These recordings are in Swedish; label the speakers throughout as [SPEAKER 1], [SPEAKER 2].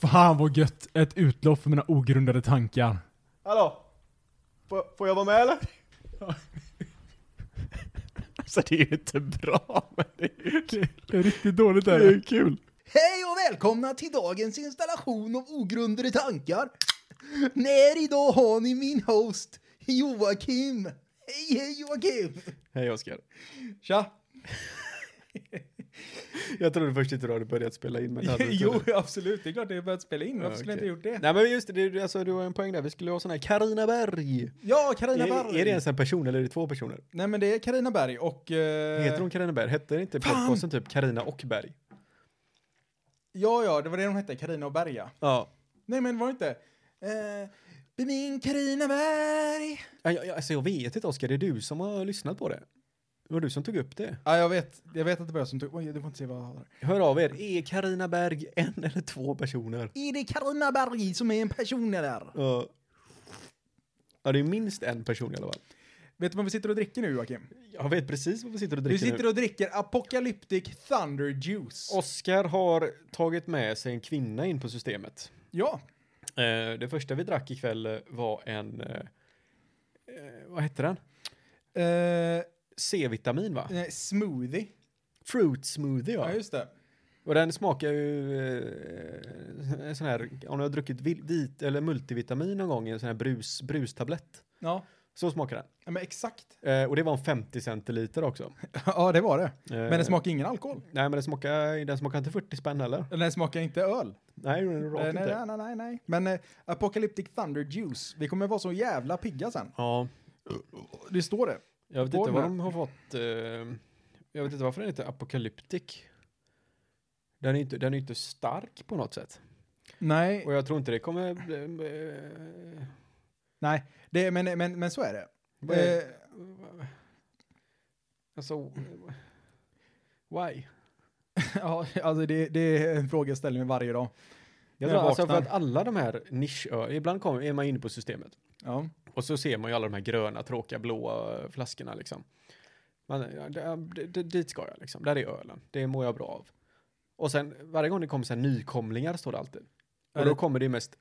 [SPEAKER 1] Fan vad gött! Ett utlopp för mina ogrundade tankar.
[SPEAKER 2] Hallå? Får, får jag vara med eller?
[SPEAKER 3] Alltså det är ju inte bra, men det är ju kul.
[SPEAKER 1] Det är riktigt dåligt
[SPEAKER 3] Det är ju kul.
[SPEAKER 4] Hej och välkomna till dagens installation av Ogrundade tankar. När idag har ni min host Joakim. Hej, hej Joakim.
[SPEAKER 3] Hej Oskar.
[SPEAKER 4] Tja.
[SPEAKER 3] Jag trodde först inte du hade börjat spela in, men det hade du inte.
[SPEAKER 2] absolut. Det är klart det är börjat spela in.
[SPEAKER 3] Ja, okej. Nej men just det, det, är- alltså, du har en poäng där. Vi skulle ha sån här Carina Berg.
[SPEAKER 2] Ja, Karina
[SPEAKER 3] Är,
[SPEAKER 2] Berg.
[SPEAKER 3] är det ens en person eller är det två personer?
[SPEAKER 2] Nej men det är Karina Berg och... eh,
[SPEAKER 3] Heter hon Carina Berg? Hette inte podcasten typ Carina och Berg?
[SPEAKER 2] Ja, ja, det var det de hette. Karina och Berga.
[SPEAKER 3] Ja.
[SPEAKER 2] Nej men var det inte? Eh, min Karina Berg.
[SPEAKER 3] Jag, jag, alltså jag vet inte Oskar, det är du som har lyssnat på det. Det var du som tog upp det.
[SPEAKER 2] Ja, jag vet. Jag vet att det var jag som tog... Oj, du får inte se vad jag har.
[SPEAKER 3] Hör av er, är Carina Berg en eller två personer?
[SPEAKER 4] Är det Karina Berg som är en person eller?
[SPEAKER 3] Ja. Ja, det är minst en person i alla fall.
[SPEAKER 2] Vet du vad vi sitter och dricker nu Joakim?
[SPEAKER 3] Jag vet precis vad vi sitter och
[SPEAKER 2] Vi
[SPEAKER 3] dricker
[SPEAKER 2] sitter
[SPEAKER 3] nu.
[SPEAKER 2] och dricker Apocalyptic Thunder Juice.
[SPEAKER 3] Oskar har tagit med sig en kvinna in på systemet.
[SPEAKER 2] Ja.
[SPEAKER 3] Eh, Det första vi drack ikväll eh, var en... eh, eh, Vad hette den?
[SPEAKER 2] Eh,
[SPEAKER 3] C-vitamin va?
[SPEAKER 2] nej, smoothie.
[SPEAKER 3] Fruit smoothie
[SPEAKER 2] Ja,
[SPEAKER 3] ja.
[SPEAKER 2] just det.
[SPEAKER 3] Och den smakar ju... eh, En sån här... Om du har druckit vil- vit eller multivitamin någon gång i en sån här brus, brustablett.
[SPEAKER 2] Ja,
[SPEAKER 3] Så smakar den.
[SPEAKER 2] ja men exakt.
[SPEAKER 3] Eh, Och det var en 50 centiliter också.
[SPEAKER 2] ja, det var det. Men
[SPEAKER 3] Eh,
[SPEAKER 2] den smakar ingen alkohol.
[SPEAKER 3] Nej men den smakar, den smakar inte 40 spänn heller.
[SPEAKER 2] Den smakar inte öl. Eh,
[SPEAKER 3] Nej, den är rakt
[SPEAKER 2] Nej,
[SPEAKER 3] inte.
[SPEAKER 2] nej, nej, nej, nej. Men eh, Apocalyptic Thunder Juice. Vi kommer vara så jävla pigga sen.
[SPEAKER 3] Ja,
[SPEAKER 2] Det står det.
[SPEAKER 3] jag vet
[SPEAKER 2] Går
[SPEAKER 3] inte vad
[SPEAKER 2] den
[SPEAKER 3] de har fått. eh, jag vet inte varför den heter Apocalyptic. Den är inte, den är inte stark på något sätt.
[SPEAKER 2] Nej,
[SPEAKER 3] Och jag tror inte det kommer... eh,
[SPEAKER 2] nej. Det, men, men, men så är det.
[SPEAKER 3] Vad är-
[SPEAKER 2] Eh,
[SPEAKER 3] alltså... Why?
[SPEAKER 2] ja, alltså det, det är en fråga jag ställer mig varje dag.
[SPEAKER 3] Jag
[SPEAKER 2] När
[SPEAKER 3] tror
[SPEAKER 2] jag
[SPEAKER 3] alltså för
[SPEAKER 2] vaknar.
[SPEAKER 3] att alla de här nischöl... Ibland kommer, är man inne på systemet
[SPEAKER 2] Ja.
[SPEAKER 3] och så ser man ju alla de här gröna, tråkiga, blåa flaskorna liksom. Man, ja, det- det- det- dit ska jag liksom. Där är ölen. Det mår jag bra av. Och sen varje gång det kommer så här nykomlingar står det alltid. Och
[SPEAKER 2] Är det-
[SPEAKER 3] då kommer det mest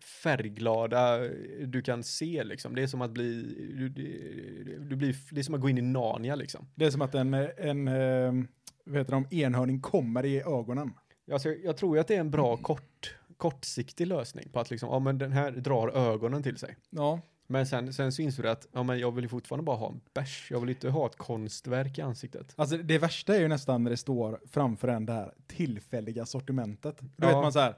[SPEAKER 3] färgglada eh, du kan se liksom. Det är som att bli, du, du, du blir, det är som att gå in i Narnia liksom.
[SPEAKER 2] Det är som att en, en eh, vad heter de, enhörning kommer i ögonen.
[SPEAKER 3] Alltså, jag tror ju att det är en bra
[SPEAKER 2] Mm.
[SPEAKER 3] kort, kortsiktig lösning på att liksom, ja men den här drar ögonen till sig.
[SPEAKER 2] Ja.
[SPEAKER 3] Men sen, sen så inser du att, ja men jag vill ju fortfarande bara ha en bärs, jag vill inte ha ett konstverk i ansiktet.
[SPEAKER 2] Alltså det värsta är ju nästan när det står framför en det här tillfälliga sortimentet. Då
[SPEAKER 3] Ja.
[SPEAKER 2] vet man så här,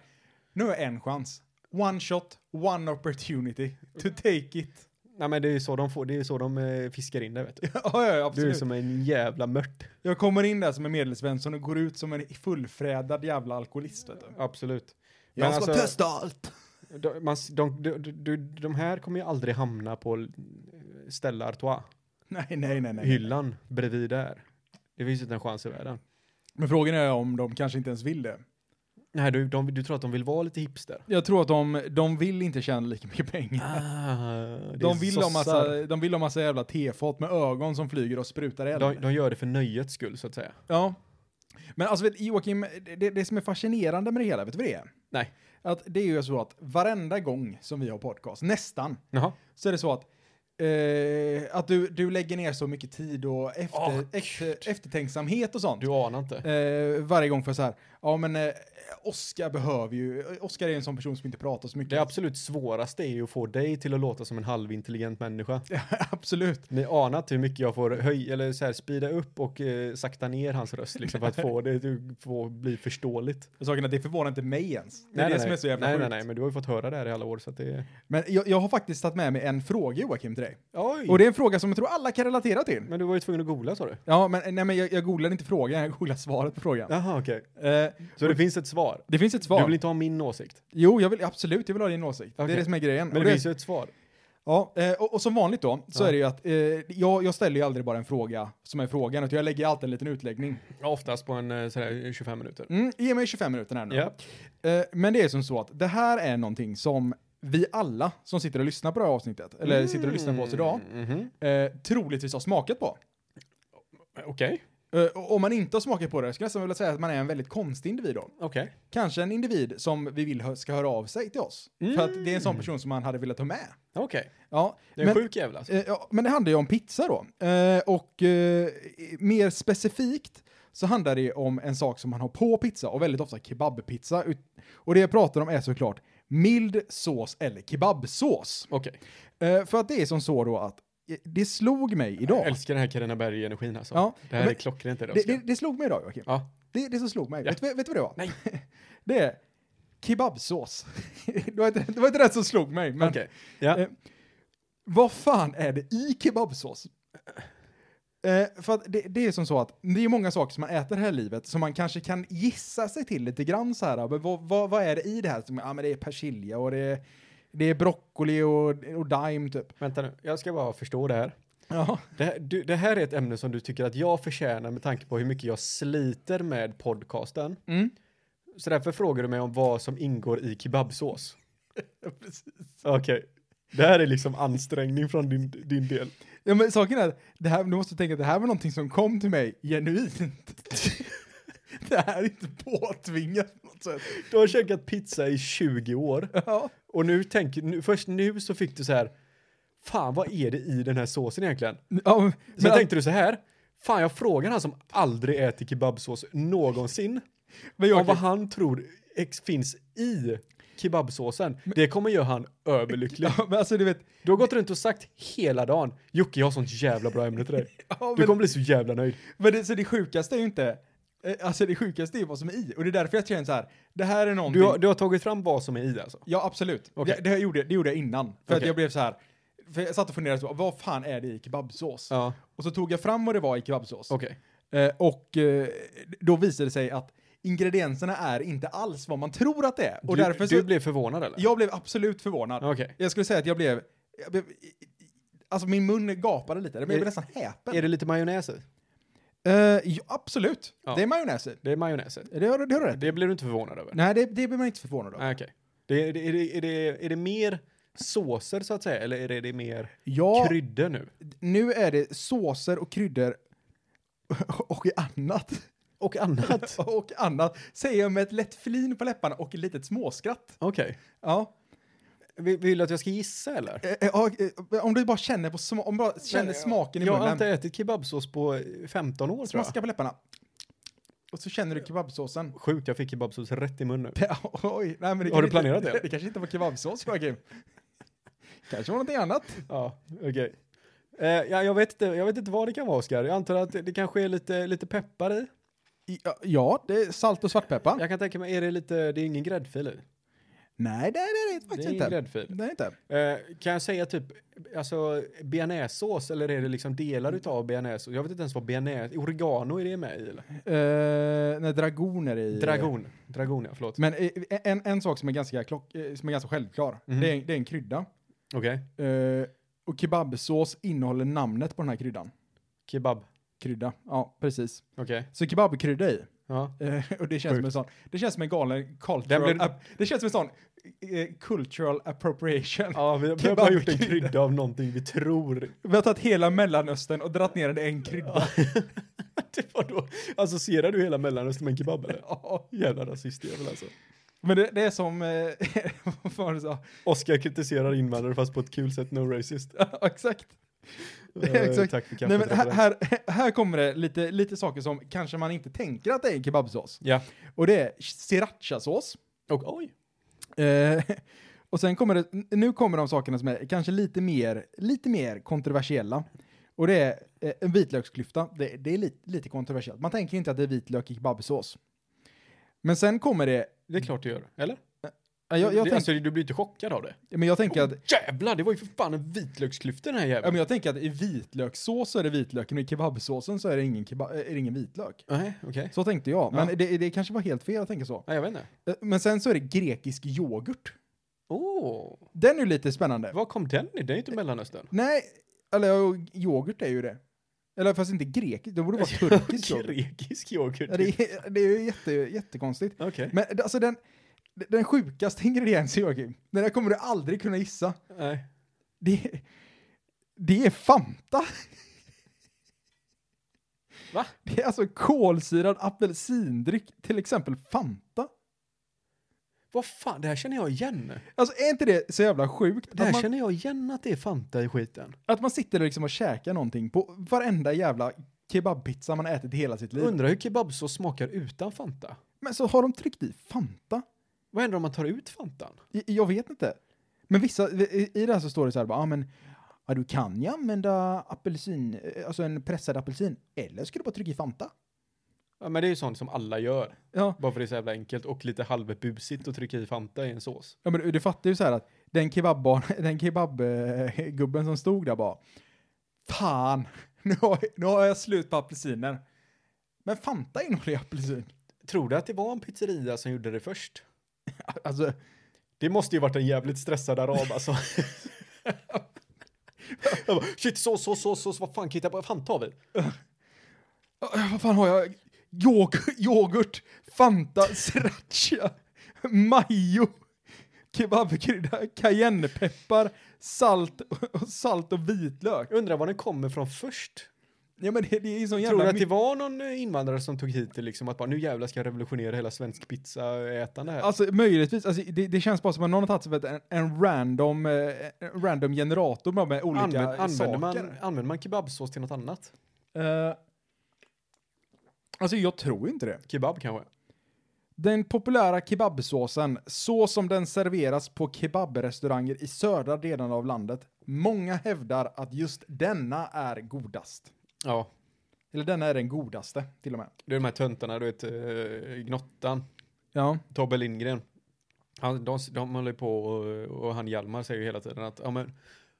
[SPEAKER 2] nu har jag en chans. One shot, one opportunity to take it.
[SPEAKER 3] Nej men det är ju så de får, det är så de eh, fiskar in det vet du.
[SPEAKER 2] ja, ja, ja,
[SPEAKER 3] Du är
[SPEAKER 2] absolut.
[SPEAKER 3] som en jävla mört.
[SPEAKER 2] Jag kommer in där som en medelsvensson och går ut som en fullfrädad jävla alkoholist. Vet du.
[SPEAKER 3] Absolut.
[SPEAKER 4] Jag
[SPEAKER 3] Men
[SPEAKER 4] ska
[SPEAKER 3] alltså,
[SPEAKER 4] testa allt.
[SPEAKER 3] de, man, s- de, de, de, de här kommer ju aldrig hamna på eh, Stella Artois-hyllan
[SPEAKER 2] Nej, nej, nej, nej.
[SPEAKER 3] bredvid där. Det finns ju inte en chans i världen.
[SPEAKER 2] Men frågan är om de kanske inte ens vill det.
[SPEAKER 3] Nej, du, de, du tror att de vill vara lite hipster?
[SPEAKER 2] Jag tror att de, de vill inte tjäna lika mycket pengar.
[SPEAKER 3] Ah, det är
[SPEAKER 2] De vill, ha
[SPEAKER 3] sossar.
[SPEAKER 2] massa, de vill ha massa jävla tefat med ögon som flyger och sprutar eld.
[SPEAKER 3] De, de gör det för nöjets skull så att säga.
[SPEAKER 2] Ja. Men alltså vet, Joakim, det, det som är fascinerande med det hela, vet du vad det är?
[SPEAKER 3] Nej.
[SPEAKER 2] Att det är ju så att varenda gång som vi har podcast, nästan,
[SPEAKER 3] Jaha.
[SPEAKER 2] så är det så att, eh, att du, du lägger ner så mycket tid och efter,
[SPEAKER 3] Åh,
[SPEAKER 2] efter, eftertänksamhet och sånt.
[SPEAKER 3] Du anar inte.
[SPEAKER 2] Eh, varje gång får jag så här, ja men eh, Oskar behöver ju, Oskar är en sån person som inte pratar så mycket.
[SPEAKER 3] Det absolut svåraste är ju att få dig till att låta som en halvintelligent människa.
[SPEAKER 2] absolut.
[SPEAKER 3] Ni anar inte hur mycket jag får höja, eller så här, speeda upp och eh, sakta ner hans röst liksom för att få det att få bli förståeligt.
[SPEAKER 2] Saken är att det förvånar inte mig ens. Det är det som är så jävla
[SPEAKER 3] nej,
[SPEAKER 2] sjukt.
[SPEAKER 3] nej, nej, men du har ju fått höra det här i alla år så att det är...
[SPEAKER 2] Men jag, jag har faktiskt tagit med mig en fråga Joakim till dig.
[SPEAKER 3] Oj!
[SPEAKER 2] Och det är en fråga som jag tror alla kan relatera till.
[SPEAKER 3] Men du var ju tvungen att googla sa du?
[SPEAKER 2] Ja, men, nej, men jag, jag googlar inte frågan, jag googlar svaret på frågan.
[SPEAKER 3] Jaha, okej.
[SPEAKER 2] Eh,
[SPEAKER 3] Så det finns ett svar?
[SPEAKER 2] det finns ett
[SPEAKER 3] Du
[SPEAKER 2] svar.
[SPEAKER 3] vill inte ha min åsikt?
[SPEAKER 2] Jo, jag vill, absolut, jag vill ha din åsikt. Det
[SPEAKER 3] Okej.
[SPEAKER 2] är det som är grejen.
[SPEAKER 3] Men
[SPEAKER 2] och,
[SPEAKER 3] det
[SPEAKER 2] det,
[SPEAKER 3] finns ju ett svar.
[SPEAKER 2] ja, eh, och, och som vanligt då, så
[SPEAKER 3] Ja.
[SPEAKER 2] är det ju att eh, jag, jag ställer ju aldrig bara en fråga som är frågan, utan jag lägger alltid en liten utläggning.
[SPEAKER 3] Oftast på en eh, sådär 25 minuter.
[SPEAKER 2] Mm, ge mig 25 minuter här nu.
[SPEAKER 3] Ja.
[SPEAKER 2] Eh, men det är som så att det här är någonting som vi alla som sitter och lyssnar på det här avsnittet, eller
[SPEAKER 3] Mm-hmm.
[SPEAKER 2] sitter och lyssnar på oss idag,
[SPEAKER 3] Mm, mhm.
[SPEAKER 2] eh, troligtvis har smakat på.
[SPEAKER 3] Okej.
[SPEAKER 2] Eh, och om man inte har smakat på det, skulle jag nästan vilja säga att man är en väldigt konstig individ då.
[SPEAKER 3] Okej.
[SPEAKER 2] Kanske en individ som vi vill hö- ska höra av sig till oss. För att det är en sån person som man hade velat ha med.
[SPEAKER 3] Okej.
[SPEAKER 2] Ja,
[SPEAKER 3] Mm. Det är en sjuk jävel alltså.
[SPEAKER 2] Eh, ja, men det handlar ju om pizza då. Eh, och eh, mer specifikt så handlar det om en sak som man har på pizza och väldigt ofta kebabpizza. Ut- Och det jag pratar om är såklart mild sås eller kebabsås.
[SPEAKER 3] Okej.
[SPEAKER 2] Eh, för att det är som så då att eh, det slog mig
[SPEAKER 3] Jag
[SPEAKER 2] idag.
[SPEAKER 3] älskar den här Carina Berg-energin alltså.
[SPEAKER 2] Ja,
[SPEAKER 3] det här
[SPEAKER 2] men-
[SPEAKER 3] är klockrent idag.
[SPEAKER 2] Det,
[SPEAKER 3] Oskar.
[SPEAKER 2] det, det slog mig idag Joakim.
[SPEAKER 3] Ja.
[SPEAKER 2] Det, det som slog mig.
[SPEAKER 3] Ja.
[SPEAKER 2] Vet, du- vet du vad det var?
[SPEAKER 3] Nej.
[SPEAKER 2] Det är kebabsås. det, var inte, det var inte det som slog mig. Men
[SPEAKER 3] Okej. Ja.
[SPEAKER 2] Eh, Vad fan är det i kebabsås? Eh, för att det, det är som så att det är många saker som man äter här i livet som man kanske kan gissa sig till lite grann så här. Men vad, vad, vad är det i det här? Som, ja, men det är persilja och det är, det är broccoli och, och daim typ.
[SPEAKER 3] Vänta nu. Jag ska bara förstå det här.
[SPEAKER 2] Ja.
[SPEAKER 3] Det här, du, det här är ett ämne som du tycker att jag förtjänar med tanke på hur mycket jag sliter med podcasten.
[SPEAKER 2] Mm.
[SPEAKER 3] Så därför frågar du mig om vad som ingår i kebabsås. Precis. Okej. Det här är liksom ansträngning från din, din del.
[SPEAKER 2] ja, men saken är att det här, du måste tänka att det här var någonting som kom till mig genuint. det här är inte påtvingat på något sätt.
[SPEAKER 3] Du har käkat pizza i 20 år
[SPEAKER 2] Ja.
[SPEAKER 3] och nu tänker, nu, först nu så fick du så här, fan vad är det i den här såsen egentligen?
[SPEAKER 2] Ja, men,
[SPEAKER 3] Sen tänkte du så här, fan jag frågar han som aldrig äter kebabsås någonsin
[SPEAKER 2] men
[SPEAKER 3] om
[SPEAKER 2] Joakim,
[SPEAKER 3] vad han tror ex finns i kebabsåsen. Det kommer göra han överlycklig.
[SPEAKER 2] ja, men alltså du vet,
[SPEAKER 3] Du har gått runt och sagt hela dagen, Jocke jag har sånt jävla bra ämne till dig.
[SPEAKER 2] ja,
[SPEAKER 3] Du kommer bli så jävla nöjd.
[SPEAKER 2] Men det, så det sjukaste är ju inte, eh, alltså det sjukaste är ju vad som är i. Och det är därför jag känner så här, det här är någonting.
[SPEAKER 3] Du har, du har tagit fram vad som är i alltså.
[SPEAKER 2] Ja, absolut.
[SPEAKER 3] Okej.
[SPEAKER 2] Det, det, här gjorde, det gjorde jag innan. För att
[SPEAKER 3] Okej.
[SPEAKER 2] jag blev så här, för jag satt och funderade så, vad fan är det i kebabsås?
[SPEAKER 3] Ja,
[SPEAKER 2] Och så tog jag fram vad det var i kebabsås.
[SPEAKER 3] okej.
[SPEAKER 2] Eh, och eh, då visade det sig att ingredienserna är inte alls vad man tror att det är. Och
[SPEAKER 3] Du,
[SPEAKER 2] därför så,
[SPEAKER 3] du blev förvånad eller?
[SPEAKER 2] jag blev absolut förvånad.
[SPEAKER 3] Okej.
[SPEAKER 2] Jag skulle säga att jag blev, jag blev alltså min mun gapade lite, men jag blev
[SPEAKER 3] Är-
[SPEAKER 2] nästan häpen.
[SPEAKER 3] Är det lite majonnäs i?
[SPEAKER 2] Eh, ja, absolut,
[SPEAKER 3] Ja.
[SPEAKER 2] det är majonnäs i.
[SPEAKER 3] Det är majonnäs i.
[SPEAKER 2] Det har du det har du rätt i.
[SPEAKER 3] Det blir du inte förvånad över?
[SPEAKER 2] Nej, det, det blir man inte förvånad av.
[SPEAKER 3] Nej, Ah, okej. Det, det, är, det, är, det, är det mer såser så att säga, eller är det, det mer
[SPEAKER 2] Ja,
[SPEAKER 3] kryddor nu?
[SPEAKER 2] nu är det såser och kryddor och annat.
[SPEAKER 3] Och annat.
[SPEAKER 2] Och annat, säger jag med ett lätt flin på läpparna och ett litet småskratt.
[SPEAKER 3] okej.
[SPEAKER 2] Ja.
[SPEAKER 3] Vill, vill du att jag ska gissa eller?
[SPEAKER 2] Eh, eh, ja, eh, Om du bara känner, på sma- om du bara känner
[SPEAKER 3] Men,
[SPEAKER 2] smaken i
[SPEAKER 3] Jag har
[SPEAKER 2] munnen,
[SPEAKER 3] inte ätit kebabsås på eh, 15 år tror jag.
[SPEAKER 2] smaska på läpparna. Och så känner du kebabsåsen.
[SPEAKER 3] Sjukt, jag fick kebabsås rätt i munnen.
[SPEAKER 2] Oj, nej, men det
[SPEAKER 3] Har
[SPEAKER 2] kan
[SPEAKER 3] du
[SPEAKER 2] inte-
[SPEAKER 3] planerat det?
[SPEAKER 2] Det kanske inte var kebabsås, Joakim. kanske var någonting annat.
[SPEAKER 3] Ja, okej. Eh, ja, jag, vet inte, jag vet inte vad det kan vara, Oskar. Jag antar att det, det kanske är lite, lite peppar i.
[SPEAKER 2] Ja, Ja, det är salt och svartpeppar.
[SPEAKER 3] Jag kan tänka mig, är det lite, det är ingen gräddfil i.
[SPEAKER 2] Nej, det är det
[SPEAKER 3] Det
[SPEAKER 2] faktiskt
[SPEAKER 3] är ingen
[SPEAKER 2] inte.
[SPEAKER 3] gräddfil.
[SPEAKER 2] Det är inte.
[SPEAKER 3] Eh, kan jag säga typ, alltså bearnaisesås eller är det liksom delar utav bearnaisesås? Jag vet inte ens vad bearnaise, oregano är det med i eller?
[SPEAKER 2] Uh, nej, dragoner i...
[SPEAKER 3] Eh, Dragon, dragon ja, förlåt.
[SPEAKER 2] Men eh, en, en sak som är ganska, klock, eh, som är ganska självklar,
[SPEAKER 3] Mhm.
[SPEAKER 2] det, är, det är en krydda.
[SPEAKER 3] Okej,
[SPEAKER 2] Eh, och kebabsås innehåller namnet på den här kryddan.
[SPEAKER 3] kebab,
[SPEAKER 2] Krydda, ja precis.
[SPEAKER 3] okej.
[SPEAKER 2] Så kebabkrydda i.
[SPEAKER 3] Ja.
[SPEAKER 2] Eh, och det känns som en sån, det känns som en galen
[SPEAKER 3] Den
[SPEAKER 2] cultural,
[SPEAKER 3] blev-
[SPEAKER 2] app- det känns som en sån eh, cultural appropriation.
[SPEAKER 3] Ja, vi har vi har bara gjort en krydda av någonting vi tror.
[SPEAKER 2] Vi har tagit hela mellanöstern och dratt ner den i en krydda.
[SPEAKER 3] det var då, Typ, associerar du hela mellanöstern med en kebab eller?
[SPEAKER 2] Ja.
[SPEAKER 3] Jävla rasistjävel alltså.
[SPEAKER 2] Men det, det är som, eh, vad fan du sa,
[SPEAKER 3] Oskar kritiserar invandrare fast på ett kul sätt, no racist. Eh,
[SPEAKER 2] Ja, exakt. Exakt.
[SPEAKER 3] Tack för
[SPEAKER 2] Nej, men här,
[SPEAKER 3] kaffet.
[SPEAKER 2] här, här kommer det lite, lite saker som kanske man inte tänker att det är en kebabsås.
[SPEAKER 3] Ja,
[SPEAKER 2] Och det är srirachasås.
[SPEAKER 3] och oj.
[SPEAKER 2] Eh, och sen kommer det, n- nu kommer de sakerna som är kanske lite mer, lite mer kontroversiella. Och det är eh, en vitlöksklyfta. Det, det är lite, lite kontroversiellt. Man tänker inte att det är vitlök i kebabsås. Men sen kommer det,
[SPEAKER 3] Det är klart du gör, eller?
[SPEAKER 2] ja, jag, jag,
[SPEAKER 3] det,
[SPEAKER 2] tänk,
[SPEAKER 3] alltså, du blir inte chockad av det?
[SPEAKER 2] men jag tänker att
[SPEAKER 3] Jävlar, det var ju för fan en vitlöksklyfta den här
[SPEAKER 2] Ja,
[SPEAKER 3] jäveln.
[SPEAKER 2] men jag tänker att i vitlökssås så är det vitlöken, men i kebabsåsen så är det ingen, keba- är det ingen vitlök.
[SPEAKER 3] Nej, okej.
[SPEAKER 2] Så tänkte jag, men
[SPEAKER 3] Ja.
[SPEAKER 2] det, det kanske var helt fel att tänka så.
[SPEAKER 3] Nej, jag vet inte.
[SPEAKER 2] Eh, Men sen så är det grekisk yoghurt.
[SPEAKER 3] Åh,
[SPEAKER 2] Den är ju lite spännande.
[SPEAKER 3] var kom den i? Den är ju inte Mellanöstern.
[SPEAKER 2] Nej, eller ja, yoghurt är ju det. Eller fast inte grekisk, det borde vara turkisk yoghurt.
[SPEAKER 3] Grekisk yoghurt.
[SPEAKER 2] Ja, Det är, det är ju jätte, jättekonstigt.
[SPEAKER 3] Okej.
[SPEAKER 2] Men det- alltså den, den sjukaste ingrediensen Joakim, den där kommer du aldrig kunna gissa.
[SPEAKER 3] Nej.
[SPEAKER 2] Det, det är Fanta.
[SPEAKER 3] Va?
[SPEAKER 2] Det är alltså kolsyrad apelsindryck, till exempel Fanta.
[SPEAKER 3] Vad fan, det här känner jag igen.
[SPEAKER 2] Alltså är inte det så jävla sjukt?
[SPEAKER 3] Det här
[SPEAKER 2] Att man,
[SPEAKER 3] känner jag igen att det är Fanta i skiten.
[SPEAKER 2] att man sitter och liksom och käkar någonting på varenda jävla kebabpizza man ätit i hela sitt liv.
[SPEAKER 3] Undrar hur kebabsås smakar utan Fanta.
[SPEAKER 2] Men så har de tryckt i Fanta.
[SPEAKER 3] Vad händer om man tar ut Fantan?
[SPEAKER 2] I- Jag vet inte. Men vissa, i i det här så står det så här, bara, ah, men, ja, du kan ju använda apelsin, eh, alltså en pressad apelsin, eller ska du bara trycka i Fanta?
[SPEAKER 3] Ja, men det är ju sånt som alla gör.
[SPEAKER 2] Ja,
[SPEAKER 3] Bara för det är så jävla enkelt och lite halvbusigt att trycka i Fanta i en sås.
[SPEAKER 2] ja men du, du fattar ju så här att den kebabbar- den kebabgubben som stod där bara, fan, nu har, jag- nu har jag slut på apelsiner. Men Fanta innehåller ju apelsin.
[SPEAKER 3] Tror du att det var en pizzeria som gjorde det först?
[SPEAKER 2] Alltså,
[SPEAKER 3] Det måste ju varit en jävligt stressad arab alltså. Jag bara, Shit, sås, sås, sås, sås, vad fan kan jag hitta på? Fanta har vi.
[SPEAKER 2] ah, vad fan har jag? Yoghurt, yoghurt Fanta, sriracha, majo, kebabkrydda, cayennepeppar, salt och, och salt och vitlök.
[SPEAKER 3] Jag undrar var den kommer från först.
[SPEAKER 2] Ja men det, det är ju sån
[SPEAKER 3] Tror
[SPEAKER 2] jävla...
[SPEAKER 3] du att det
[SPEAKER 2] mycket-
[SPEAKER 3] var någon eh, invandrare som tog hit det liksom att bara nu jävlar ska jag revolutionera hela svensk pizzaätande här?
[SPEAKER 2] Alltså möjligtvis, alltså, det, det känns bara som att någon har tagit sig för en, en random, eh, en random generator bara med olika
[SPEAKER 3] Använd, använder,
[SPEAKER 2] saker.
[SPEAKER 3] man, använder man kebabsås till något annat?
[SPEAKER 2] Eh, alltså jag tror inte det.
[SPEAKER 3] Kebab kanske?
[SPEAKER 2] Den populära kebabsåsen, så som den serveras på kebabrestauranger i södra delarna av landet, många hävdar att just denna är godast.
[SPEAKER 3] Ja,
[SPEAKER 2] Eller denna är den godaste, till och med.
[SPEAKER 3] det är de här töntarna, du vet, eh, Gnottan,
[SPEAKER 2] Ja.
[SPEAKER 3] Tobbe Lindgren. Han, de, de håller på och, och han Hjalmar säger ju hela tiden att ja men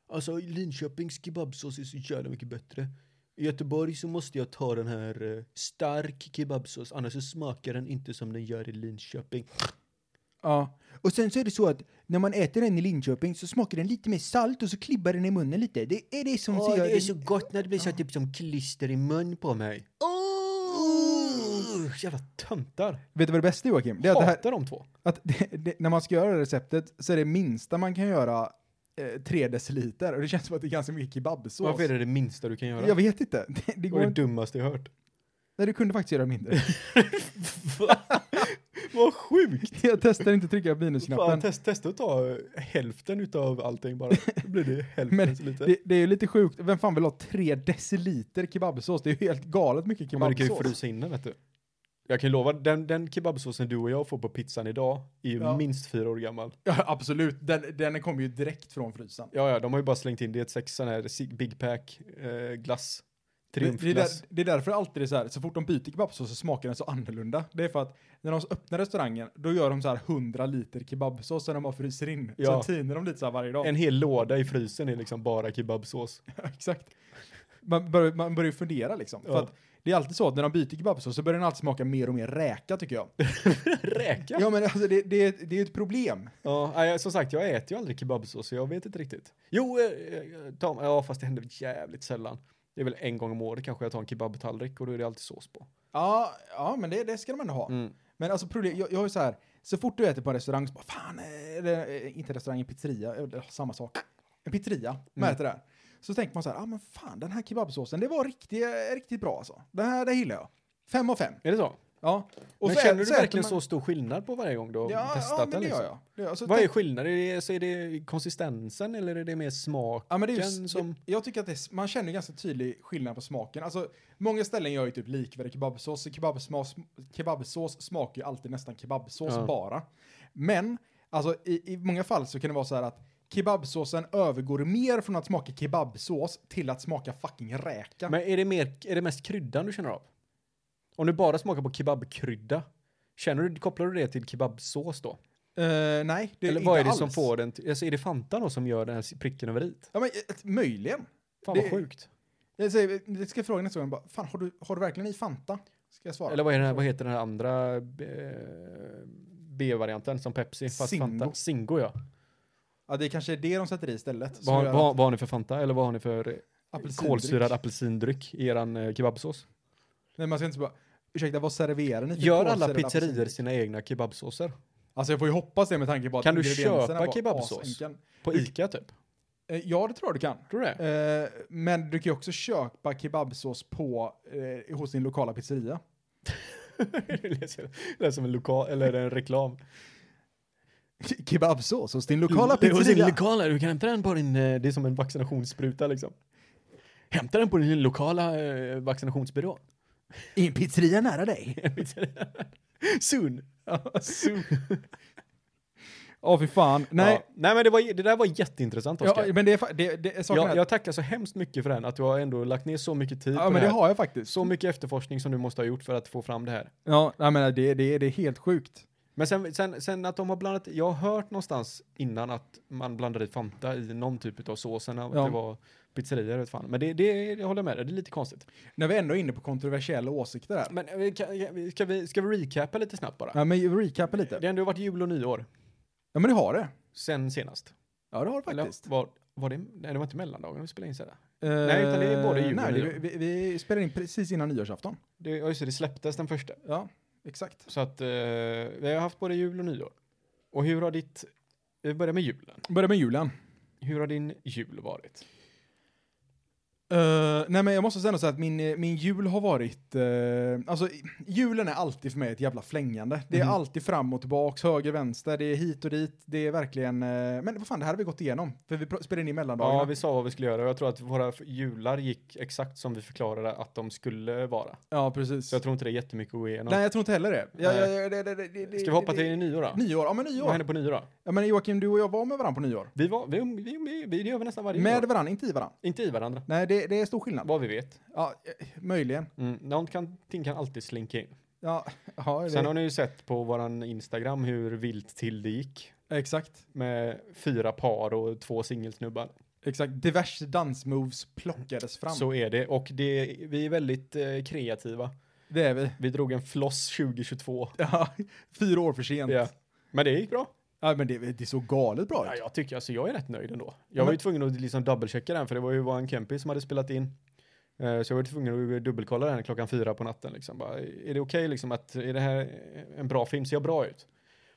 [SPEAKER 3] alltså Linköpings kebabsås är så jävla mycket bättre. I Göteborg så måste jag ta den här eh, stark kebabsås annars så smakar den inte som den gör i Linköping.
[SPEAKER 2] ja.
[SPEAKER 4] Och sen så är det så att när man äter den i Linköping så smakar den lite mer salt och så klibbar den i munnen lite. Det är det som
[SPEAKER 3] Åh,
[SPEAKER 4] gör
[SPEAKER 3] det är så gott när det blir så här typ som klister i mun på mig. Uh, jävla töntar.
[SPEAKER 2] Vet du vad det bästa är, Joakim? Oh! Det är att, det här,
[SPEAKER 3] Hatar de två.
[SPEAKER 2] att det, det, när man ska göra det receptet så är det minsta man kan göra eh, 3 deciliter. Och det känns som att det är ganska mycket kebabsås.
[SPEAKER 3] Varför är det det minsta du kan göra?
[SPEAKER 2] Jag vet inte. Det, det
[SPEAKER 3] det var
[SPEAKER 2] går
[SPEAKER 3] det
[SPEAKER 2] inte.
[SPEAKER 3] dummaste jag hört.
[SPEAKER 2] Nej, du kunde faktiskt göra mindre.
[SPEAKER 3] Vad sjukt!
[SPEAKER 2] Jag testar inte trycka
[SPEAKER 3] Fan,
[SPEAKER 2] minusknappen.
[SPEAKER 3] test, testa att ta eh, hälften utav allting bara. Då blir det hälften
[SPEAKER 2] Men
[SPEAKER 3] så lite.
[SPEAKER 2] Det, det är ju lite sjukt. Vem fan vill ha tre deciliter kebabsås? Det är ju helt galet mycket
[SPEAKER 3] Men du kan ju
[SPEAKER 2] kebabsås.
[SPEAKER 3] frysa in den vet du. Jag kan ju lova, den, den kebabsåsen du och jag får på pizzan idag är ju
[SPEAKER 2] Ja.
[SPEAKER 3] minst fyra år gammal.
[SPEAKER 2] Ja, absolut. Den, den kommer ju direkt från frysen.
[SPEAKER 3] Ja, ja, de har ju bara slängt in det i ett sex sån här sig- Big Pack eh, glass.
[SPEAKER 2] Det, det, är där,
[SPEAKER 3] Triumfglass.
[SPEAKER 2] det är därför alltid det är så här, så fort de byter kebabsås så smakar den så annorlunda. Det är för att när de öppnar restaurangen, då gör de så här 100 liter kebabsås som de bara fryser in.
[SPEAKER 3] Ja.
[SPEAKER 2] Ja. Sen tiner de lite så här varje dag.
[SPEAKER 3] En hel låda i frysen är liksom bara kebabsås.
[SPEAKER 2] Exakt. Man börjar, man börjar ju fundera liksom.
[SPEAKER 3] Ja.
[SPEAKER 2] För att det är alltid så att när de byter kebabsås så börjar den alltid smaka mer och mer räka tycker jag.
[SPEAKER 3] Räka?
[SPEAKER 2] Ja men alltså det, det, är- det är ju ett problem.
[SPEAKER 3] Ja, nej, som sagt, jag äter ju aldrig kebabsås så jag vet inte riktigt. Jo, eh, eh, Tom, ja fast det händer jävligt sällan. Det är väl en gång om året kanske jag tar en kebabtallrik och då är det alltid sås på.
[SPEAKER 2] Ja, ja men det, det ska de ändå
[SPEAKER 3] Mm.
[SPEAKER 2] ha. Men alltså problem, jag, jag har ju så här, så fort du äter på en restaurang så bara fan, eh, eller, eh, inte restaurang, en pizzeria, eller, eh, samma sak. En pizzeria,
[SPEAKER 3] Mm.
[SPEAKER 2] man äter där. Så tänker man så här, ah men fan den här kebabsåsen, det var riktigt, eh, riktigt bra alltså. Det här, det gillar jag. Fem av fem.
[SPEAKER 3] Är det så?
[SPEAKER 2] Ja. Och
[SPEAKER 3] men
[SPEAKER 2] så ä-
[SPEAKER 3] känner du
[SPEAKER 2] äter
[SPEAKER 3] verkligen
[SPEAKER 2] man-
[SPEAKER 3] så stor skillnad på varje gång du har
[SPEAKER 2] Ja, ja
[SPEAKER 3] testat
[SPEAKER 2] men
[SPEAKER 3] den?
[SPEAKER 2] det
[SPEAKER 3] Liksom?
[SPEAKER 2] gör jag. Det alltså, gör jag. Så
[SPEAKER 3] Vad är
[SPEAKER 2] tänk-
[SPEAKER 3] skillnaden? Är det, så är det konsistensen eller är det mer smaken
[SPEAKER 2] Ja, men det är ju,
[SPEAKER 3] som...
[SPEAKER 2] Jag tycker att det, är s- man känner ju ganska tydlig skillnad på smaken. Alltså, många ställen gör ju typ likvärdig kebabsås. så Kebabsmas, kebabsås smakar ju alltid nästan kebabsås
[SPEAKER 3] Ja.
[SPEAKER 2] bara. Men alltså, i, i många fall så kan det vara så här att kebabsåsen övergår mer från att smaka kebabsås till att smaka fucking räka.
[SPEAKER 3] Men är det, mer, är det mest kryddan du känner av? Om du bara smakar på kebabkrydda, känner du, kopplar du det till kebabsås då?
[SPEAKER 2] Eh, nej, det är
[SPEAKER 3] Eller
[SPEAKER 2] inte
[SPEAKER 3] vad är det
[SPEAKER 2] alls.
[SPEAKER 3] som får den till, alltså är det Fanta då som gör den här pricken över i?
[SPEAKER 2] Ja, men, eh, möjligen.
[SPEAKER 3] Fan
[SPEAKER 2] Det-
[SPEAKER 3] vad sjukt.
[SPEAKER 2] Jag, säger, jag ska fråga nästa gång, bara, fan har du, har du verkligen i Fanta? Ska jag svara.
[SPEAKER 3] Eller vad, är den här, vad heter den här andra eh, B-varianten som Pepsi? Fast
[SPEAKER 2] Singo.
[SPEAKER 3] Fanta. Singo ja.
[SPEAKER 2] ja, det är kanske är det de sätter i istället. som
[SPEAKER 3] Vad,
[SPEAKER 2] gör
[SPEAKER 3] vad,
[SPEAKER 2] att
[SPEAKER 3] vad har ni för Fanta? Eller vad har ni för eh,
[SPEAKER 2] apelsindryck-
[SPEAKER 3] kolsyrad apelsindryck i eran eh, kebabsås?
[SPEAKER 2] Nej, man ska inte bara, ursäkta, vad serverar ni för
[SPEAKER 3] Gör alla
[SPEAKER 2] kolsyrad
[SPEAKER 3] pizzerior
[SPEAKER 2] apelsin?"
[SPEAKER 3] sina egna kebabsåser?
[SPEAKER 2] Alltså jag får ju hoppas det med tanke på att
[SPEAKER 3] Kan du
[SPEAKER 2] ingredienserna
[SPEAKER 3] köpa
[SPEAKER 2] var
[SPEAKER 3] kebabsås?
[SPEAKER 2] asenkel.
[SPEAKER 3] På Ica typ?
[SPEAKER 2] Eh, Ja, det tror jag du kan.
[SPEAKER 3] Tror du det?
[SPEAKER 2] Eh, men du kan ju också köpa kebabsås på, eh, hos din lokala pizzeria.
[SPEAKER 3] det lät- lät som en lokal, eller en reklam.
[SPEAKER 2] Kebabsås hos din lokala
[SPEAKER 3] Det är hos din
[SPEAKER 2] pizzeria?
[SPEAKER 3] lokala, du kan hämta den på din, eh, det är som en vaccinationsspruta liksom. Hämta den på din lokala eh, vaccinationsbyrå.
[SPEAKER 2] I en pizzeria nära dig?
[SPEAKER 3] Soon. Soon.
[SPEAKER 2] Ja, fy fan. Nej,
[SPEAKER 3] Ja. Nej men det, var, det där var jättintressant
[SPEAKER 2] ja,
[SPEAKER 3] Oskar.
[SPEAKER 2] men det är, fa- det, det, saken
[SPEAKER 3] jag,
[SPEAKER 2] är
[SPEAKER 3] jag tackar så hemskt mycket för den, att du har ändå lagt ner så mycket tid
[SPEAKER 2] Ja,
[SPEAKER 3] på
[SPEAKER 2] men
[SPEAKER 3] det
[SPEAKER 2] det
[SPEAKER 3] här.
[SPEAKER 2] har jag faktiskt.
[SPEAKER 3] Så mycket efterforskning som du måste ha gjort för att få fram det här.
[SPEAKER 2] Ja, jag menar, det, det, det är helt sjukt.
[SPEAKER 3] Men sen, sen, sen att de har blandat, jag har hört någonstans innan att man blandade i Fanta i någon typ av sås, sen att
[SPEAKER 2] Ja.
[SPEAKER 3] det var pizzeria vet fan. Men det, det, det håller jag med dig, det är lite konstigt.
[SPEAKER 2] När vi ändå är inne på kontroversiella åsikter här.
[SPEAKER 3] Men eh, vi kan- ska vi, ska vi recapa lite snabbt bara?
[SPEAKER 2] Ja, men recapa lite.
[SPEAKER 3] Det har ändå varit jul och nyår
[SPEAKER 2] Ja, men det har det.
[SPEAKER 3] sen senast.
[SPEAKER 2] Ja, det har det
[SPEAKER 3] Eller
[SPEAKER 2] faktiskt.
[SPEAKER 3] var, var det, nej det var inte mellandagarna vi spelade in sådär.
[SPEAKER 2] Nej,
[SPEAKER 3] utan det är både jul och
[SPEAKER 2] Eh, nej, det,
[SPEAKER 3] nyår.
[SPEAKER 2] vi, vi spelar in precis innan nyårsafton.
[SPEAKER 3] Det, ja just det, det släpptes den första.
[SPEAKER 2] Ja, exakt.
[SPEAKER 3] Så att eh, vi har haft både jul och nyår. Och hur har ditt, vi börjar med julen.
[SPEAKER 2] Börja med julen.
[SPEAKER 3] Hur har din jul varit?
[SPEAKER 2] Eh, nej men jag måste säga så att min, eh, min jul har varit, eh, alltså i- julen är alltid för mig ett jävla flängande. Det är
[SPEAKER 3] Mhm.
[SPEAKER 2] alltid fram och tillbaks, höger, vänster, det är hit och dit. Det är verkligen, eh, men vad fan det här har vi gått igenom. För vi pr- spelade in i mellandagarna.
[SPEAKER 3] Ja, vi sa vad vi skulle göra och jag tror att våra f- jular gick exakt som vi förklarade att de skulle vara.
[SPEAKER 2] ja precis.
[SPEAKER 3] Så jag tror inte det är jättemycket att gå igenom.
[SPEAKER 2] nej jag tror inte heller det. Ja,
[SPEAKER 3] Nej.
[SPEAKER 2] ja, ja, det, det, det, det
[SPEAKER 3] Ska vi hoppa
[SPEAKER 2] det-
[SPEAKER 3] till nyår då?
[SPEAKER 2] Nyår, ja men
[SPEAKER 3] Vad
[SPEAKER 2] nyår.
[SPEAKER 3] hände på nyår då?
[SPEAKER 2] Ja, men Joakim, du och jag var med varandra på nyår.
[SPEAKER 3] Vi var, vi, vi, vi, vi, det gör vi nästan varje
[SPEAKER 2] Med
[SPEAKER 3] år.
[SPEAKER 2] varandra, inte i varandra.
[SPEAKER 3] Inte i varandra,
[SPEAKER 2] Nej, det, det är stor skillnad.
[SPEAKER 3] vad vi vet.
[SPEAKER 2] Ja, eh, möjligen.
[SPEAKER 3] Mm, någonting kan alltid slinka in.
[SPEAKER 2] Ja, ja det,
[SPEAKER 3] Sen har ni ju sett på våran Instagram hur vilt till det gick.
[SPEAKER 2] exakt.
[SPEAKER 3] Med fyra par och två singelsnubbar.
[SPEAKER 2] Exakt. Diverse dansmoves plockades fram.
[SPEAKER 3] Så är det. Och det, vi är väldigt eh, kreativa.
[SPEAKER 2] Det är vi.
[SPEAKER 3] Vi drog en floss 2022.
[SPEAKER 2] Ja, fyra år för sent.
[SPEAKER 3] Ja. Men det gick bra.
[SPEAKER 2] Ja, men det, det såg galet bra ut.
[SPEAKER 3] Ja,
[SPEAKER 2] Ja,
[SPEAKER 3] jag tycker, alltså jag är rätt nöjd ändå. Jag
[SPEAKER 2] men-
[SPEAKER 3] var ju tvungen att liksom dubbelchecka den, för det var ju vår kompis som hade spelat in. Eh, Så jag var tvungen att dubbelkolla den klockan fyra på natten. Liksom. Bara, är det okej liksom att, är det här en bra film? Ser jag bra ut?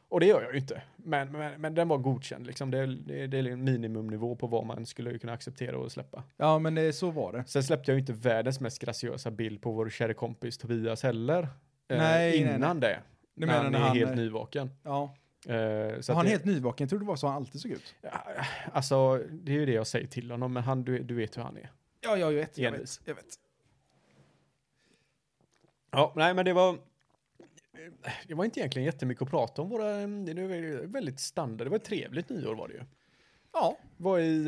[SPEAKER 3] Och det gör jag ju inte. Men, men, men den var godkänd liksom. Det, är- det, är- det är en minimumnivå på vad man skulle kunna acceptera och släppa.
[SPEAKER 2] men eh, så var det.
[SPEAKER 3] Sen släppte jag ju inte världens mest graciösa bild på vår kära kompis Tobias heller. eh,
[SPEAKER 2] Nej, nej,
[SPEAKER 3] innan det.
[SPEAKER 2] Du
[SPEAKER 3] när
[SPEAKER 2] menar
[SPEAKER 3] han är
[SPEAKER 2] när han,
[SPEAKER 3] helt
[SPEAKER 2] eh,
[SPEAKER 3] nyvaken.
[SPEAKER 2] Ja,
[SPEAKER 3] Eh, så
[SPEAKER 2] var
[SPEAKER 3] att
[SPEAKER 2] han
[SPEAKER 3] det-
[SPEAKER 2] helt nyvaken. Jag trodde det var så han alltid såg ut.
[SPEAKER 3] Ja, Alltså, det är ju det jag säger till honom, men han, du, du vet hur han är.
[SPEAKER 2] Ja, ja, jag vet. Jag vet.
[SPEAKER 3] Envis.
[SPEAKER 2] Jag vet.
[SPEAKER 3] Ja, nej, men det var... Det var inte egentligen jättemycket att prata om våra... Det var väldigt standard. Det var ett trevligt nyår var det ju.
[SPEAKER 2] Ja,
[SPEAKER 3] Var i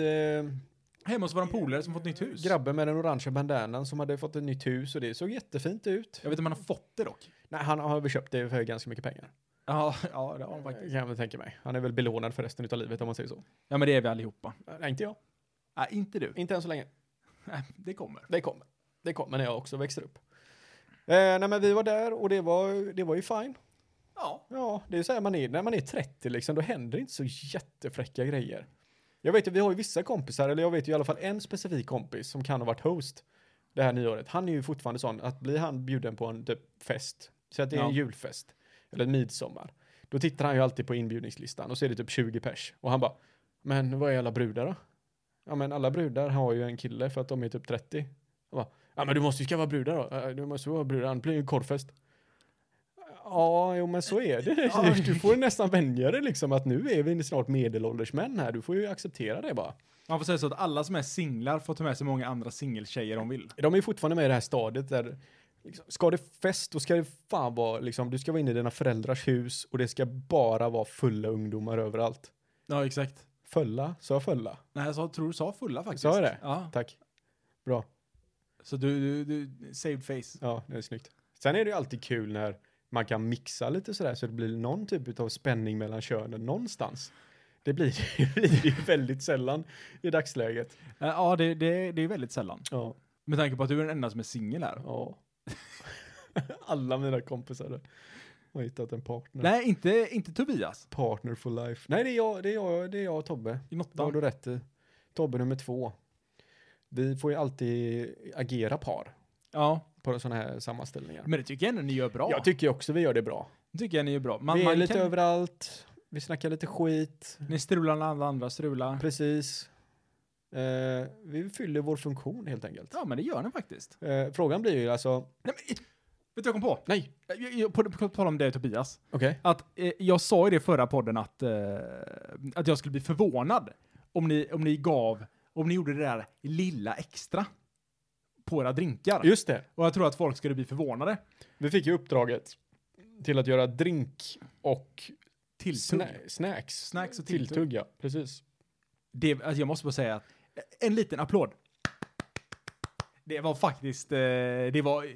[SPEAKER 3] eh,
[SPEAKER 2] hemma hos våran polare som fått nytt hus.
[SPEAKER 3] grabben med den orangea bandanan som hade fått ett nytt hus och det såg jättefint ut.
[SPEAKER 2] Jag vet inte om han har fått det dock.
[SPEAKER 3] Nej, han har väl köpt det för ganska mycket pengar.
[SPEAKER 2] Ja, ja, det har han
[SPEAKER 3] Kan
[SPEAKER 2] faktiskt.
[SPEAKER 3] jag väl tänka mig. Han är väl belånad för resten av livet om man säger så.
[SPEAKER 2] Ja, men det är vi allihopa.
[SPEAKER 3] Nej, inte jag.
[SPEAKER 2] Nej, inte du.
[SPEAKER 3] Inte än så länge.
[SPEAKER 2] Nej, det kommer.
[SPEAKER 3] Det kommer. Det kommer när jag också växer upp. Eh, nej, men vi var där och det var, det var ju fine.
[SPEAKER 2] Ja.
[SPEAKER 3] Ja, det är så här man är, när man är 30 liksom, då händer inte så jättefräcka grejer. Jag vet ju, vi har ju vissa kompisar, eller jag vet ju i alla fall en specifik kompis som kan ha varit host det här nyåret. Han är ju fortfarande sån att blir han bjuden på en typ fest, så att det är en
[SPEAKER 2] Ja.
[SPEAKER 3] julfest, eller en midsommar, då tittar han ju alltid på inbjudningslistan och så är det typ 20 pers. Och han bara, men vad är alla brudar då? Ja men alla brudar har ju en kille för att de är typ 30. Jag bara, ja men du måste ju skaffa brudar då. "Ja, Du måste ju vara brudar, annars blir det ju en korvfest. Ja, jo men så är det.
[SPEAKER 2] Ja.
[SPEAKER 3] Du får ju nästan vänja dig liksom att nu är vi snart medelålders män här. Du får ju acceptera det bara.
[SPEAKER 2] Man får säga så att alla som är singlar får ta med sig många andra singeltjejer de vill.
[SPEAKER 3] De är ju fortfarande med i det här stadiet där liksom, ska det fest då ska det fan vara liksom, du ska vara inne i dina föräldrars hus och det ska bara vara fulla ungdomar överallt.
[SPEAKER 2] Ja, exakt.
[SPEAKER 3] Fulla, sa jag fulla?
[SPEAKER 2] Nej, jag sa, tror du sa fulla faktiskt.
[SPEAKER 3] Sa jag det?
[SPEAKER 2] Ja.
[SPEAKER 3] Tack. Bra.
[SPEAKER 2] Så du, du, du saved face.
[SPEAKER 3] Ja, det är snyggt. Sen är det ju alltid kul när man kan mixa lite sådär så det blir någon typ av spänning mellan könen någonstans. Det blir det blir ju väldigt sällan i dagsläget.
[SPEAKER 2] Eh, Ja, det, det, det är väldigt sällan. Mm.
[SPEAKER 3] Ja.
[SPEAKER 2] Med tanke på att du är den enda som är singel här.
[SPEAKER 3] ja. Alla mina kompisar har hittat en partner.
[SPEAKER 2] Nej, inte, inte Tobias.
[SPEAKER 3] Partner for life. Nej, det är jag, det är jag, det är jag och Tobbe.
[SPEAKER 2] I
[SPEAKER 3] Det har
[SPEAKER 2] Nottan.
[SPEAKER 3] du rätt i. Tobbe nummer två. Vi får ju alltid agera par
[SPEAKER 2] Ja,
[SPEAKER 3] på sådana här sammanställningar.
[SPEAKER 2] men det tycker jag ändå ni gör bra.
[SPEAKER 3] Jag tycker också vi gör det bra.
[SPEAKER 2] Det tycker jag ni gör bra. Man,
[SPEAKER 3] vi är
[SPEAKER 2] man
[SPEAKER 3] lite
[SPEAKER 2] kan,
[SPEAKER 3] överallt. Vi snackar lite skit.
[SPEAKER 2] Ni strular när alla andra strular.
[SPEAKER 3] Precis. Eh, vi fyller vår funktion helt enkelt.
[SPEAKER 2] Ja, men det gör den faktiskt.
[SPEAKER 3] Eh, frågan blir ju alltså,
[SPEAKER 2] Nej, men, vet du vad jag kom på?
[SPEAKER 3] nej,
[SPEAKER 2] Jag, jag, på, på tal om dig Tobias.
[SPEAKER 3] okej,
[SPEAKER 2] Att eh, jag sa i det förra podden att, eh, att jag skulle bli förvånad om ni, om ni gav, om ni gjorde det där lilla extra på era drinkar.
[SPEAKER 3] just det.
[SPEAKER 2] Och jag tror att folk skulle bli förvånade.
[SPEAKER 3] Vi fick ju uppdraget till att göra drink och
[SPEAKER 2] Tilltugg.
[SPEAKER 3] sna- snacks.
[SPEAKER 2] Snacks och
[SPEAKER 3] tilltugg.
[SPEAKER 2] tilltugg.
[SPEAKER 3] ja, precis.
[SPEAKER 2] Det, alltså jag måste bara säga att en liten applåd. Det var faktiskt, eh, det var,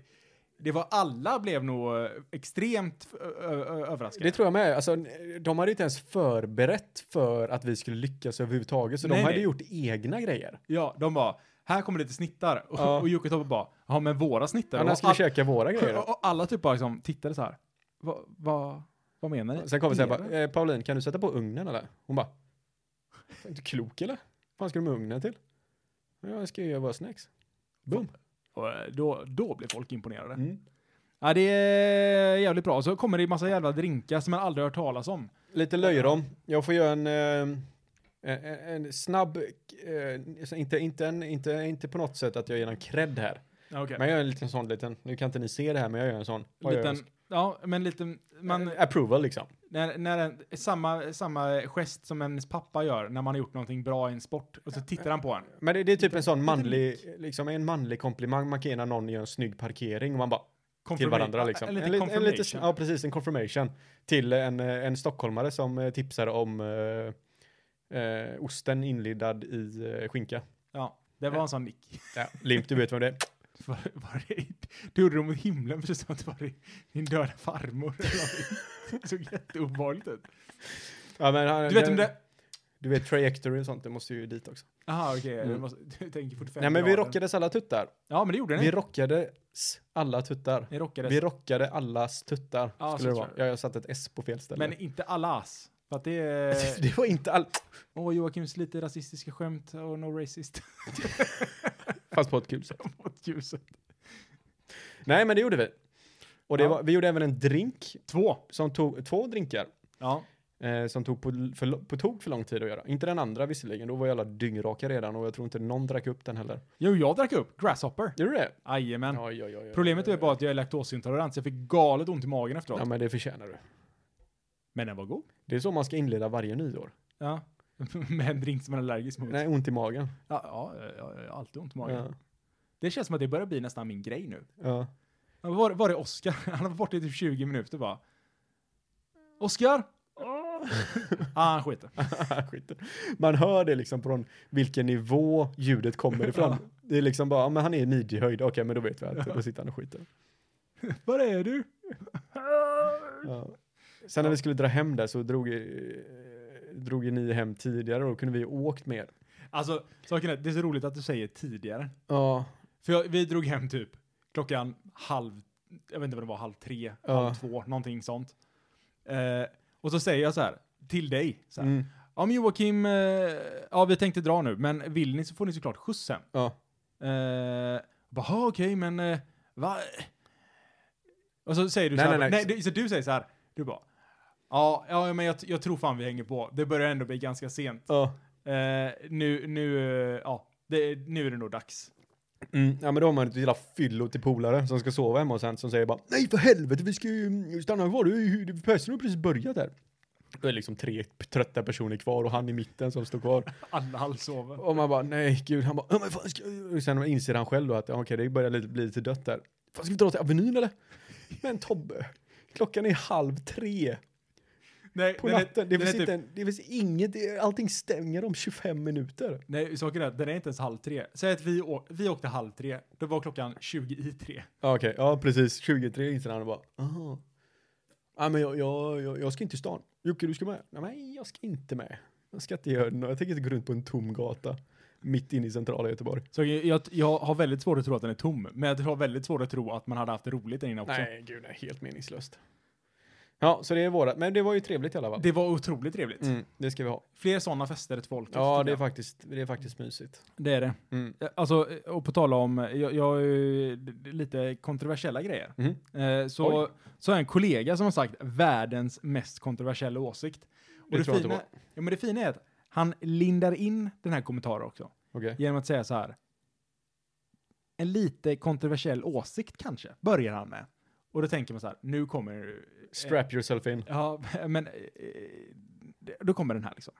[SPEAKER 2] det var alla blev nog eh, extremt ö- ö- ö- överraskade.
[SPEAKER 3] Det tror jag med. Alltså, de hade inte ens förberett för att vi skulle lyckas överhuvudtaget, så de
[SPEAKER 2] Nej,
[SPEAKER 3] hade
[SPEAKER 2] nej.
[SPEAKER 3] gjort egna grejer.
[SPEAKER 2] Ja, de bara, här kommer lite snittar. Och,
[SPEAKER 3] Ja.
[SPEAKER 2] och Jocke och Tobbe bara, ja men våra snittar.
[SPEAKER 3] Annars
[SPEAKER 2] Och
[SPEAKER 3] skulle vi
[SPEAKER 2] all-
[SPEAKER 3] käka våra grejer.
[SPEAKER 2] och, och alla typ bara liksom tittade så här. Va, va, vad menar ni?
[SPEAKER 3] Sen kommer sen
[SPEAKER 2] Menar
[SPEAKER 3] bara,
[SPEAKER 2] ni?
[SPEAKER 3] eh, Pauline kan du sätta på ugnen eller? Hon bara, är du klok eller? Vad ska du med ugnen till? "Ja, Jag ska ju göra våra snacks. Boom.
[SPEAKER 2] Och, eh, då, då blev folk imponerade.
[SPEAKER 3] Mm.
[SPEAKER 2] Ja, det är jävligt bra. Så kommer det massa jävla drinkar som man aldrig hört talas om.
[SPEAKER 3] Lite löjrom. Jag får göra en, eh, en, en- en snabb, eh, så inte, inte, en, inte, inte på något sätt att jag ger någon cred här.
[SPEAKER 2] Okay.
[SPEAKER 3] Men jag gör en liten sån liten, nu kan inte ni se det här men jag gör en sån. Vad gör jag?
[SPEAKER 2] liten, ja, men liten, man,
[SPEAKER 3] Eh, approval liksom.
[SPEAKER 2] när, när en, samma, samma gest som ens pappa gör när man har gjort någonting bra i en sport och så tittar han på en.
[SPEAKER 3] Men det, det är typ en sån manlig, liksom en manlig komplimang man kan ge när någon gör en snygg parkering och man bara till
[SPEAKER 2] Confirma-
[SPEAKER 3] varandra liksom.
[SPEAKER 2] En liten
[SPEAKER 3] li- en lite-
[SPEAKER 2] confirmation.
[SPEAKER 3] ja, precis, en confirmation. Till en, eh, en stockholmare som eh, tipsar om eh, eh, osten inlindad i eh, skinka.
[SPEAKER 2] Ja, det var en sån nick.
[SPEAKER 3] Ja, Limp, du vet vem det är.
[SPEAKER 2] Var, var det, du gjorde det mot himlen precis som att det var din- din döda farmor. eller någonting. Det såg jätteobehagligt ut.
[SPEAKER 3] Ja, men, han-
[SPEAKER 2] Du vet om det...
[SPEAKER 3] Du vet trajectory och sånt, det måste ju dit också.
[SPEAKER 2] Jaha, okej.
[SPEAKER 3] Mm.
[SPEAKER 2] du måste- Du tänker 45
[SPEAKER 3] Nej, men vi
[SPEAKER 2] grader.
[SPEAKER 3] rockades alla tuttar.
[SPEAKER 2] Ja, men det gjorde ni.
[SPEAKER 3] Vi rockades alla tuttar.
[SPEAKER 2] ni rockade.
[SPEAKER 3] Vi rockade allas tuttar,
[SPEAKER 2] Ja,
[SPEAKER 3] skulle det
[SPEAKER 2] så
[SPEAKER 3] vara.
[SPEAKER 2] tror
[SPEAKER 3] Ja, jag satte ett S på fel ställe.
[SPEAKER 2] men eh, inte alla ass. För att det är...
[SPEAKER 3] det var inte all...
[SPEAKER 2] Åh, Joakims lite rasistiska skämt och no racist.
[SPEAKER 3] Fast på ett kul sätt.
[SPEAKER 2] mot ljuset.
[SPEAKER 3] Nej, men det gjorde vi. Och det
[SPEAKER 2] Ja.
[SPEAKER 3] var, vi gjorde även en drink
[SPEAKER 2] Två.
[SPEAKER 3] som tog två drinkar.
[SPEAKER 2] Ja.
[SPEAKER 3] Eh, som tog på, för, på tok för lång tid att göra. Inte den andra visserligen, då var jag alla dyngraka redan och jag tror inte någon drack upp den heller.
[SPEAKER 2] Jo, jag drack upp Grasshopper.
[SPEAKER 3] Gjorde du det?
[SPEAKER 2] Jajamän.
[SPEAKER 3] Oj, oj, oj, oj.
[SPEAKER 2] Problemet är bara att jag är laktosintolerant, så jag fick galet ont i magen efteråt.
[SPEAKER 3] Ja, men det förtjänar du.
[SPEAKER 2] Men den var god.
[SPEAKER 3] Det är så man ska inleda varje nyår.
[SPEAKER 2] Ja. Med en drink som man är allergisk mot.
[SPEAKER 3] Nej, ont i magen.
[SPEAKER 2] Ja, ja, jag jag har alltid ont i magen.
[SPEAKER 3] Ja.
[SPEAKER 2] Det känns som att det börjar bli nästan min grej nu.
[SPEAKER 3] Ja.
[SPEAKER 2] Ja, Var, var är Oskar? Han var borta i typ 20 minuter bara. Oskar? Ja, han skiter.
[SPEAKER 3] Skiten. Man hör det liksom från vilken nivå ljudet kommer ifrån. Det är liksom bara, ja, men han är i midjehöjd, okej men då vet vi att då sitter han och skiter.
[SPEAKER 2] Var är du?
[SPEAKER 3] Ja. Sen när vi skulle dra hem där så drog, eh, drog ju ni hem tidigare och då kunde vi ju åkt mer.
[SPEAKER 2] Alltså, saken är, det är så roligt att du säger tidigare.
[SPEAKER 3] Ja,
[SPEAKER 2] För jag, vi drog hem typ klockan halv, jag vet inte vad det var, halv tre,
[SPEAKER 3] Ja.
[SPEAKER 2] halv två, någonting sånt. Eh, och så säger jag så här, till dig, så här,
[SPEAKER 3] Mm.
[SPEAKER 2] ja men Joakim, eh, ja vi tänkte dra nu, men vill ni så får ni såklart skjuts hem.
[SPEAKER 3] ja.
[SPEAKER 2] Eh, jag bara, "Ja, okej men, eh, va? Och så säger du
[SPEAKER 3] Nej,
[SPEAKER 2] så här,
[SPEAKER 3] nej,
[SPEAKER 2] nej,
[SPEAKER 3] nej.
[SPEAKER 2] du, så du säger så här, du bara, ja, ja men jag, jag tror fan vi hänger på, det börjar ändå bli ganska sent.
[SPEAKER 3] ja.
[SPEAKER 2] Eh, nu, nu, eh, ja, det, nu är det nog dags.
[SPEAKER 3] Mm, ja men då har man ett jävla fyllo till polare som ska sova hemma och sen som säger bara Nej för helvete vi ska ju mm, stanna kvar, det är ju- festen har precis börjat här. Det är liksom tre p- trötta personer kvar och han i mitten som står kvar.
[SPEAKER 2] Alla halvsover.
[SPEAKER 3] Och man bara nej gud, han bara ja men fan ska jag-" Och sen inser han själv då att ja, okej det börjar lite, bli lite dött där. Fan ska vi dra till Avenyn eller? Men Tobbe, klockan är halv tre
[SPEAKER 2] Nej,
[SPEAKER 3] på
[SPEAKER 2] den är-
[SPEAKER 3] natten. Det
[SPEAKER 2] den
[SPEAKER 3] finns,
[SPEAKER 2] är typ-
[SPEAKER 3] inte, en- det finns inget, det- allting stänger om 25 minuter.
[SPEAKER 2] Nej, saken är att den är inte ens halv tre. Säg att vi, å- vi åkte halv tre, det var klockan 20 i tre.
[SPEAKER 3] Ja, Okej, ja precis. 23 inser han och bara, aha. Ja, men jag, jag, jag, jag ska inte till stan. Jocke, du ska med? Nej, men jag ska inte med. Jag ska inte göra något. Jag tänker inte gå runt på en tom gata mitt inne i centrala Göteborg.
[SPEAKER 2] Så jag, jag, jag har väldigt svårt att tro att den är tom, men jag har väldigt svårt att tro att man hade haft roligt där inne också.
[SPEAKER 3] Nej, gud, nej, helt meningslöst. Ja, så det är vårat. Men det var ju trevligt i alla fall.
[SPEAKER 2] Det var otroligt trevligt.
[SPEAKER 3] Mm, det ska vi ha.
[SPEAKER 2] Fler sådana fester till folket.
[SPEAKER 3] Ja,
[SPEAKER 2] tycker
[SPEAKER 3] det är
[SPEAKER 2] jag.
[SPEAKER 3] faktiskt, det är faktiskt mysigt.
[SPEAKER 2] det är det.
[SPEAKER 3] Mm.
[SPEAKER 2] Eh, Alltså, eh, och på tala om, eh, jag, jag har ju d- d- lite kontroversiella grejer.
[SPEAKER 3] Mhm.
[SPEAKER 2] Eh, så,
[SPEAKER 3] Oj.
[SPEAKER 2] så har jag en kollega som har sagt världens mest kontroversiella åsikt. Och
[SPEAKER 3] Det
[SPEAKER 2] det,
[SPEAKER 3] tror jag inte
[SPEAKER 2] fina, ja, men det fina är att han lindar in den här kommentaren också.
[SPEAKER 3] Okej.
[SPEAKER 2] genom att säga så här. En lite kontroversiell åsikt kanske, börjar han med. Och då tänker man så här, nu kommer... eh,
[SPEAKER 3] Strap yourself in.
[SPEAKER 2] Ja, men eh, det- då kommer den här liksom.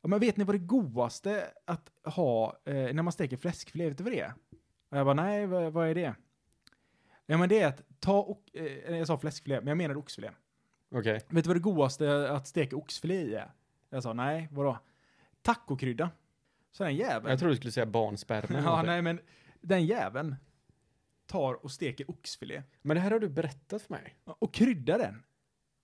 [SPEAKER 2] Ja, men vet ni vad det godaste att ha eh, när man steker fläskfilé, vet du vad det är? Och jag bara, nej, vad, vad är det? Ja, men det är att ta och, eh, jag sa fläskfilé, men jag menade oxfilé.
[SPEAKER 3] Okej.
[SPEAKER 2] Vet du vad det godaste att steka oxfilé i är? Jag sa, nej, vadå? Tacokrydda. Så den jäveln.
[SPEAKER 3] Jag trodde du skulle säga barnsperma. eller
[SPEAKER 2] Ja,
[SPEAKER 3] någonting.
[SPEAKER 2] nej, men den jäveln tar och steker oxfilé
[SPEAKER 3] Men det här har du berättat för mig.
[SPEAKER 2] och kryddar den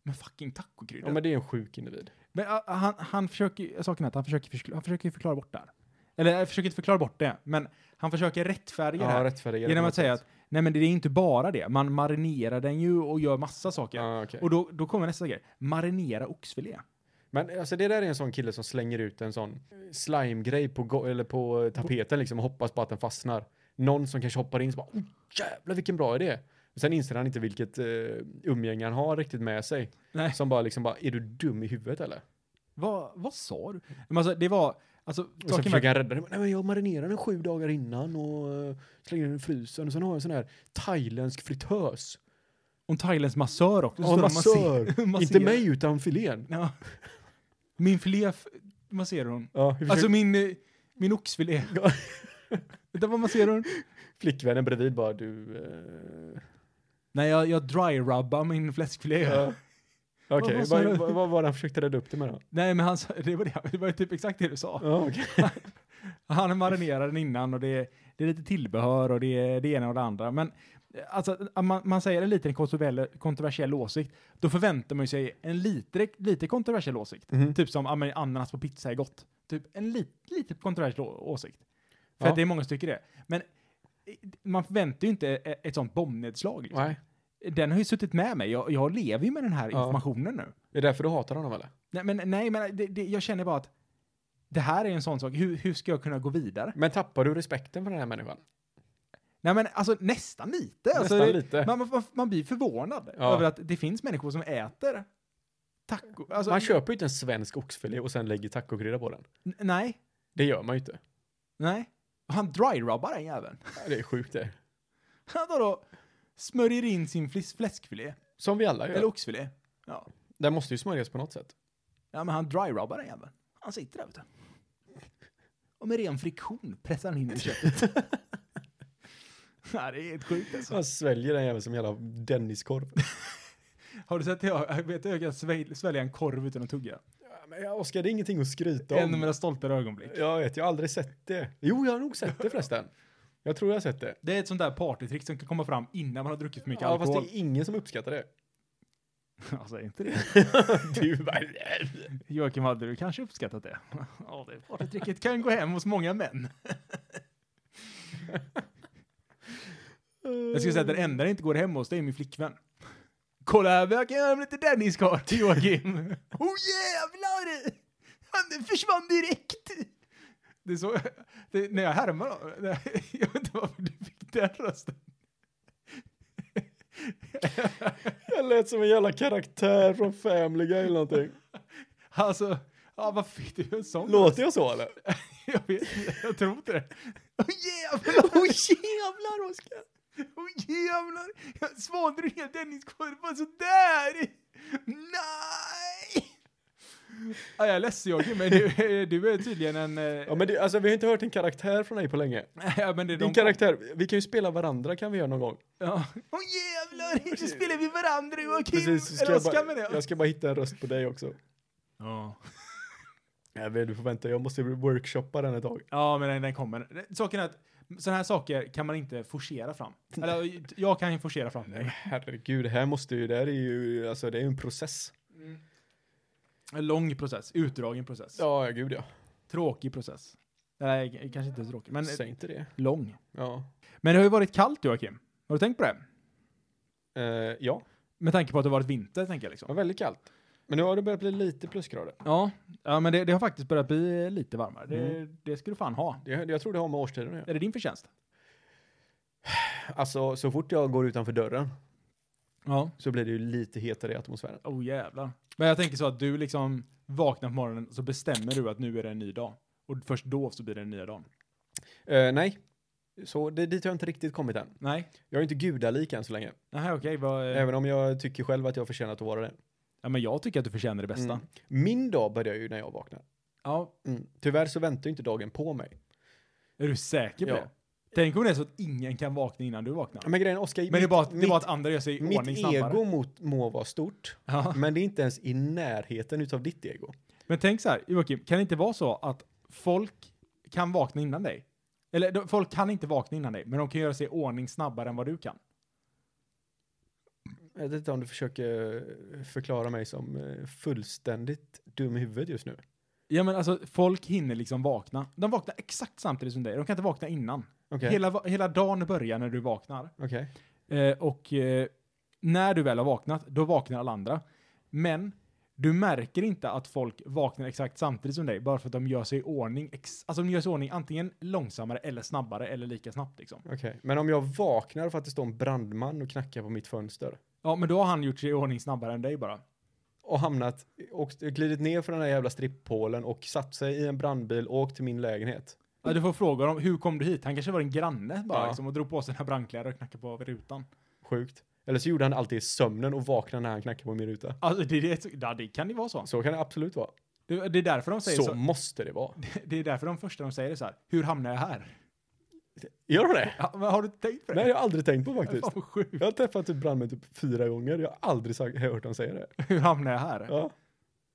[SPEAKER 2] med fucking tacokrydda.
[SPEAKER 3] Ja, men det är en sjuk individ.
[SPEAKER 2] Men ah, han, han försöker, ju- saken är att han försöker, förskl- han försöker ju förklara bort det här. Eller jag försöker inte förklara bort det, men han försöker rättfärdiga det
[SPEAKER 3] Ja,
[SPEAKER 2] här
[SPEAKER 3] rättfärdiga.
[SPEAKER 2] genom att säga att nej men det är inte bara det, man marinerar den ju och gör massa saker.
[SPEAKER 3] Ja, okej.
[SPEAKER 2] Och då, då kommer nästa grej, marinera oxfilé.
[SPEAKER 3] Men alltså det där är en sån kille som slänger ut en sån slime-grej på, go- eller på eh, tapeten liksom och hoppas på att den fastnar. Någon som kanske hoppar in och bara oh, jävlar vilken bra idé. Och sen inser han inte vilket eh, umgänge han har riktigt med sig.
[SPEAKER 2] Nej.
[SPEAKER 3] Som bara liksom bara, är du dum i huvudet eller?
[SPEAKER 2] Vad, vad sa du? Men alltså det var, alltså
[SPEAKER 3] Och så
[SPEAKER 2] saken var,
[SPEAKER 3] försöker han rädda den. Nej men jag marinerar den sju dagar innan och eh, slänger den i frysen. Och sen har jag en sån här thailändsk fritös.
[SPEAKER 2] om Thailands massör också. så
[SPEAKER 3] Ja,
[SPEAKER 2] står det
[SPEAKER 3] massör.
[SPEAKER 2] masser-
[SPEAKER 3] Inte mig utan filén.
[SPEAKER 2] Ja. Min filé f- masserar hon.
[SPEAKER 3] Ja, hur försöker
[SPEAKER 2] Alltså min, eh, min oxfilé.
[SPEAKER 3] Ja.
[SPEAKER 2] Vänta, vad masserar hon?
[SPEAKER 3] flickvännen bredvid bara du... Eh...
[SPEAKER 2] Nej, jag, jag dry-rubbar min fläskfilé.
[SPEAKER 3] Ja. Okej,
[SPEAKER 2] vad sa
[SPEAKER 3] vad,
[SPEAKER 2] du?
[SPEAKER 3] vad, vad var det han försökte rädda upp det med då?
[SPEAKER 2] Nej, men han, sa- det, var det, det var typ exakt det du sa.
[SPEAKER 3] Ja, okej.
[SPEAKER 2] Han marinerar den innan och det, är- det är lite tillbehör och det, är det ena och det andra. Men eh, alltså, att man, man säger en liten kontroversiell, kontroversiell åsikt, då förväntar man ju sig en lite, lite kontroversiell åsikt.
[SPEAKER 3] Mhm.
[SPEAKER 2] Typ som ah, men ananas på pizza är gott. Typ en li, lite kontroversiell å- åsikt. För
[SPEAKER 3] Ja.
[SPEAKER 2] att det är många som tycker det. Men eh, man förväntar ju inte e- ett sånt bombnedslag. Liksom.
[SPEAKER 3] Nej.
[SPEAKER 2] Den har ju suttit med mig. Jag, jag lever ju med den här
[SPEAKER 3] Ja.
[SPEAKER 2] informationen nu.
[SPEAKER 3] Det är därför du hatar honom eller?
[SPEAKER 2] Nej, men, nej, men det, det, jag känner bara att det här är en sån sak. Hur, hur ska jag kunna gå vidare?
[SPEAKER 3] Men tappar du respekten för den här människan?
[SPEAKER 2] Nej, men alltså nästan lite. alltså,
[SPEAKER 3] Nästan
[SPEAKER 2] det,
[SPEAKER 3] lite. Man,
[SPEAKER 2] Man, man, man blir förvånad
[SPEAKER 3] Ja.
[SPEAKER 2] över att det finns människor som äter taco. Alltså,
[SPEAKER 3] köper ju inte en svensk oxfilé och sen lägger tacokrydda på den.
[SPEAKER 2] n- nej,
[SPEAKER 3] Det gör man ju inte.
[SPEAKER 2] nej. Han dry-rubbar den jäveln.
[SPEAKER 3] Ja, Det är sjukt det.
[SPEAKER 2] Han tar då smörjer in sin flis- fläskfilé,
[SPEAKER 3] Som vi alla gör.
[SPEAKER 2] eller oxfilé. Ja.
[SPEAKER 3] Den måste ju smörjas på något sätt.
[SPEAKER 2] ja, men han dry-rubbar den jäveln. Han sitter där ute. Och med ren friktion pressar han in i köttet. Nej, det är helt sjukt alltså.
[SPEAKER 3] Man sväljer den jäveln som en jävla Denniskorv.
[SPEAKER 2] Har du sett hur jag, vet du hur jag kan svälj- svälja en korv utan att tugga?
[SPEAKER 3] Ja, men Oskar, det är ingenting att skryta
[SPEAKER 2] En av
[SPEAKER 3] om.
[SPEAKER 2] mina stolta ögonblick.
[SPEAKER 3] Jag vet, jag har aldrig sett det. Jo, jag har nog sett det förresten. Jag tror jag har sett det.
[SPEAKER 2] Det är ett sånt där partytrick som kan komma fram innan man har druckit för mycket
[SPEAKER 3] Ja, fast det
[SPEAKER 2] alkohol.
[SPEAKER 3] är ingen som uppskattar det.
[SPEAKER 2] Alltså, inte det.
[SPEAKER 3] du bara... "Äh."
[SPEAKER 2] Joakim, hade du kanske uppskattat det? Ja, det partytricket kan gå hem hos många män. Jag skulle säga att den enda det inte går hem hos, det är min flickvän. Kolla här vad jag kan göra med lite Dennis-kort till Joakim. oh jävlar! Han försvann direkt! Det är så, det, när jag härmar honom, jag vet inte varför du fick den rösten.
[SPEAKER 3] Jag lät som en jävla karaktär från Family Guy eller någonting.
[SPEAKER 2] Alltså, ja, vad fick du en sån
[SPEAKER 3] Låter jag så eller?
[SPEAKER 2] Jag vet inte, jag tror inte det. Åh jävlar!
[SPEAKER 3] Åh jävlar Oskar!
[SPEAKER 2] Åh jävlar! Jag svalde du hela Denniskorven sådär? Nej! Ja, jag är ledsen Joakim, men du, du är tydligen en... eh,
[SPEAKER 3] Ja men det, alltså vi har inte hört en karaktär från dig på länge.
[SPEAKER 2] Ja, men det är
[SPEAKER 3] Din
[SPEAKER 2] de...
[SPEAKER 3] karaktär, vi kan ju spela varandra kan vi göra någon gång.
[SPEAKER 2] Ja. Åh jävlar! Så spelar vi varandra Joakim!
[SPEAKER 3] Precis, så
[SPEAKER 2] Eller
[SPEAKER 3] ska
[SPEAKER 2] Oskar
[SPEAKER 3] jag, bara,
[SPEAKER 2] menar
[SPEAKER 3] jag
[SPEAKER 2] jag.
[SPEAKER 3] ska bara hitta en röst på dig också.
[SPEAKER 2] Ja.
[SPEAKER 3] Jag vet, du får vänta, jag måste workshoppa den ett tag.
[SPEAKER 2] Ja, men den, den kommer. Saken är att sådana här saker kan man inte forcera fram. Eller jag kan ju forcera fram det.
[SPEAKER 3] Herregud, här måste ju, det här är ju, alltså det är ju en process.
[SPEAKER 2] En lång process, utdragen process.
[SPEAKER 3] Ja, ja, gud ja.
[SPEAKER 2] Tråkig process. Nej, kanske inte tråkig, men
[SPEAKER 3] Säg inte det.
[SPEAKER 2] lång.
[SPEAKER 3] Ja.
[SPEAKER 2] Men det har ju varit kallt Joakim. Har du tänkt på det?
[SPEAKER 3] Eh, ja,
[SPEAKER 2] Med tanke på att det har varit vinter, tänker jag
[SPEAKER 3] det var
[SPEAKER 2] liksom.
[SPEAKER 3] väldigt kallt. Men nu har det börjat bli lite plusgrader.
[SPEAKER 2] Ja, ja men det, det har faktiskt börjat bli lite varmare. Det, det ska du fan ha.
[SPEAKER 3] Det, jag tror det har med årstiden att göra.
[SPEAKER 2] Är det din förtjänst?
[SPEAKER 3] Alltså, så fort jag går utanför dörren
[SPEAKER 2] Ja.
[SPEAKER 3] så blir det ju lite hetare i atmosfären.
[SPEAKER 2] Oh jävlar. Men jag tänker så att du liksom vaknar på morgonen och så bestämmer du att nu är det en ny dag. Och först då så blir det den nya dagen.
[SPEAKER 3] Eh, nej, så det, dit har jag inte riktigt kommit än.
[SPEAKER 2] Nej,
[SPEAKER 3] Jag är inte gudalik än så länge.
[SPEAKER 2] nej okej. vad, eh,
[SPEAKER 3] Även om jag tycker själv att jag förtjänar att vara det.
[SPEAKER 2] ja, men jag tycker att du förtjänar det bästa.
[SPEAKER 3] Mm. Min dag börjar ju när jag vaknar.
[SPEAKER 2] Ja,
[SPEAKER 3] Mm. Tyvärr så väntar ju inte dagen på mig.
[SPEAKER 2] är du säker på
[SPEAKER 3] Ja.
[SPEAKER 2] det? Tänk om det är så att ingen kan vakna innan du vaknar.
[SPEAKER 3] Men grejen Oskar,
[SPEAKER 2] Men det är bara, att- det är bara att andra gör sig i
[SPEAKER 3] mitt,
[SPEAKER 2] ordning
[SPEAKER 3] mitt
[SPEAKER 2] snabbare.
[SPEAKER 3] ego mot, må vara stort,
[SPEAKER 2] Ja.
[SPEAKER 3] men det är inte ens i närheten utav ditt ego.
[SPEAKER 2] Men tänk så här, Joakim, kan det inte vara så att folk kan vakna innan dig? Eller de, folk kan inte vakna innan dig, men de kan göra sig i ordning snabbare än vad du kan.
[SPEAKER 3] Jag vet inte om du försöker eh, förklara mig som eh, fullständigt dum i huvudet just nu.
[SPEAKER 2] Ja men alltså, folk hinner liksom vakna. De vaknar exakt samtidigt som dig, de kan inte vakna innan.
[SPEAKER 3] Okej,
[SPEAKER 2] Hela, va- hela dagen börjar när du vaknar.
[SPEAKER 3] okej.
[SPEAKER 2] Eh, och eh, när du väl har vaknat, då vaknar alla andra. Men du märker inte att folk vaknar exakt samtidigt som dig, bara för att de gör sig i ordning, ex- alltså de gör sig i ordning antingen långsammare eller snabbare eller lika snabbt liksom.
[SPEAKER 3] okej. Men om jag vaknar för att det står en brandman och knackar på mitt fönster
[SPEAKER 2] Ja, men då har han gjort sig i ordning snabbare än dig bara.
[SPEAKER 3] och hamnat, och glidit ner från den här jävla stripppålen och satt sig i en brandbil och åkt till min lägenhet.
[SPEAKER 2] Ja, du får fråga honom, hur kom du hit? Han kanske var en granne bara
[SPEAKER 3] Ja.
[SPEAKER 2] liksom, och drog på sig sina brandkläder och knackade på rutan.
[SPEAKER 3] Sjukt. Eller så gjorde han alltid i sömnen och vaknade när han knackade på min ruta.
[SPEAKER 2] Alltså, det, det, ja, det kan ju vara så.
[SPEAKER 3] Så kan det absolut vara.
[SPEAKER 2] Det, det är därför de säger
[SPEAKER 3] Så
[SPEAKER 2] så.
[SPEAKER 3] måste det vara.
[SPEAKER 2] Det är därför de första de säger det så här, hur hamnar jag här?
[SPEAKER 3] Gör de det?
[SPEAKER 2] Ja, men har du tänkt på det?
[SPEAKER 3] Nej, jag har aldrig tänkt på
[SPEAKER 2] Fan,
[SPEAKER 3] faktiskt.
[SPEAKER 2] vad sjukt.
[SPEAKER 3] Jag har träffat typ brandmän typ fyra gånger. Jag har aldrig sagt, hört dem säga det.
[SPEAKER 2] Hur hamnar jag här?
[SPEAKER 3] Ja,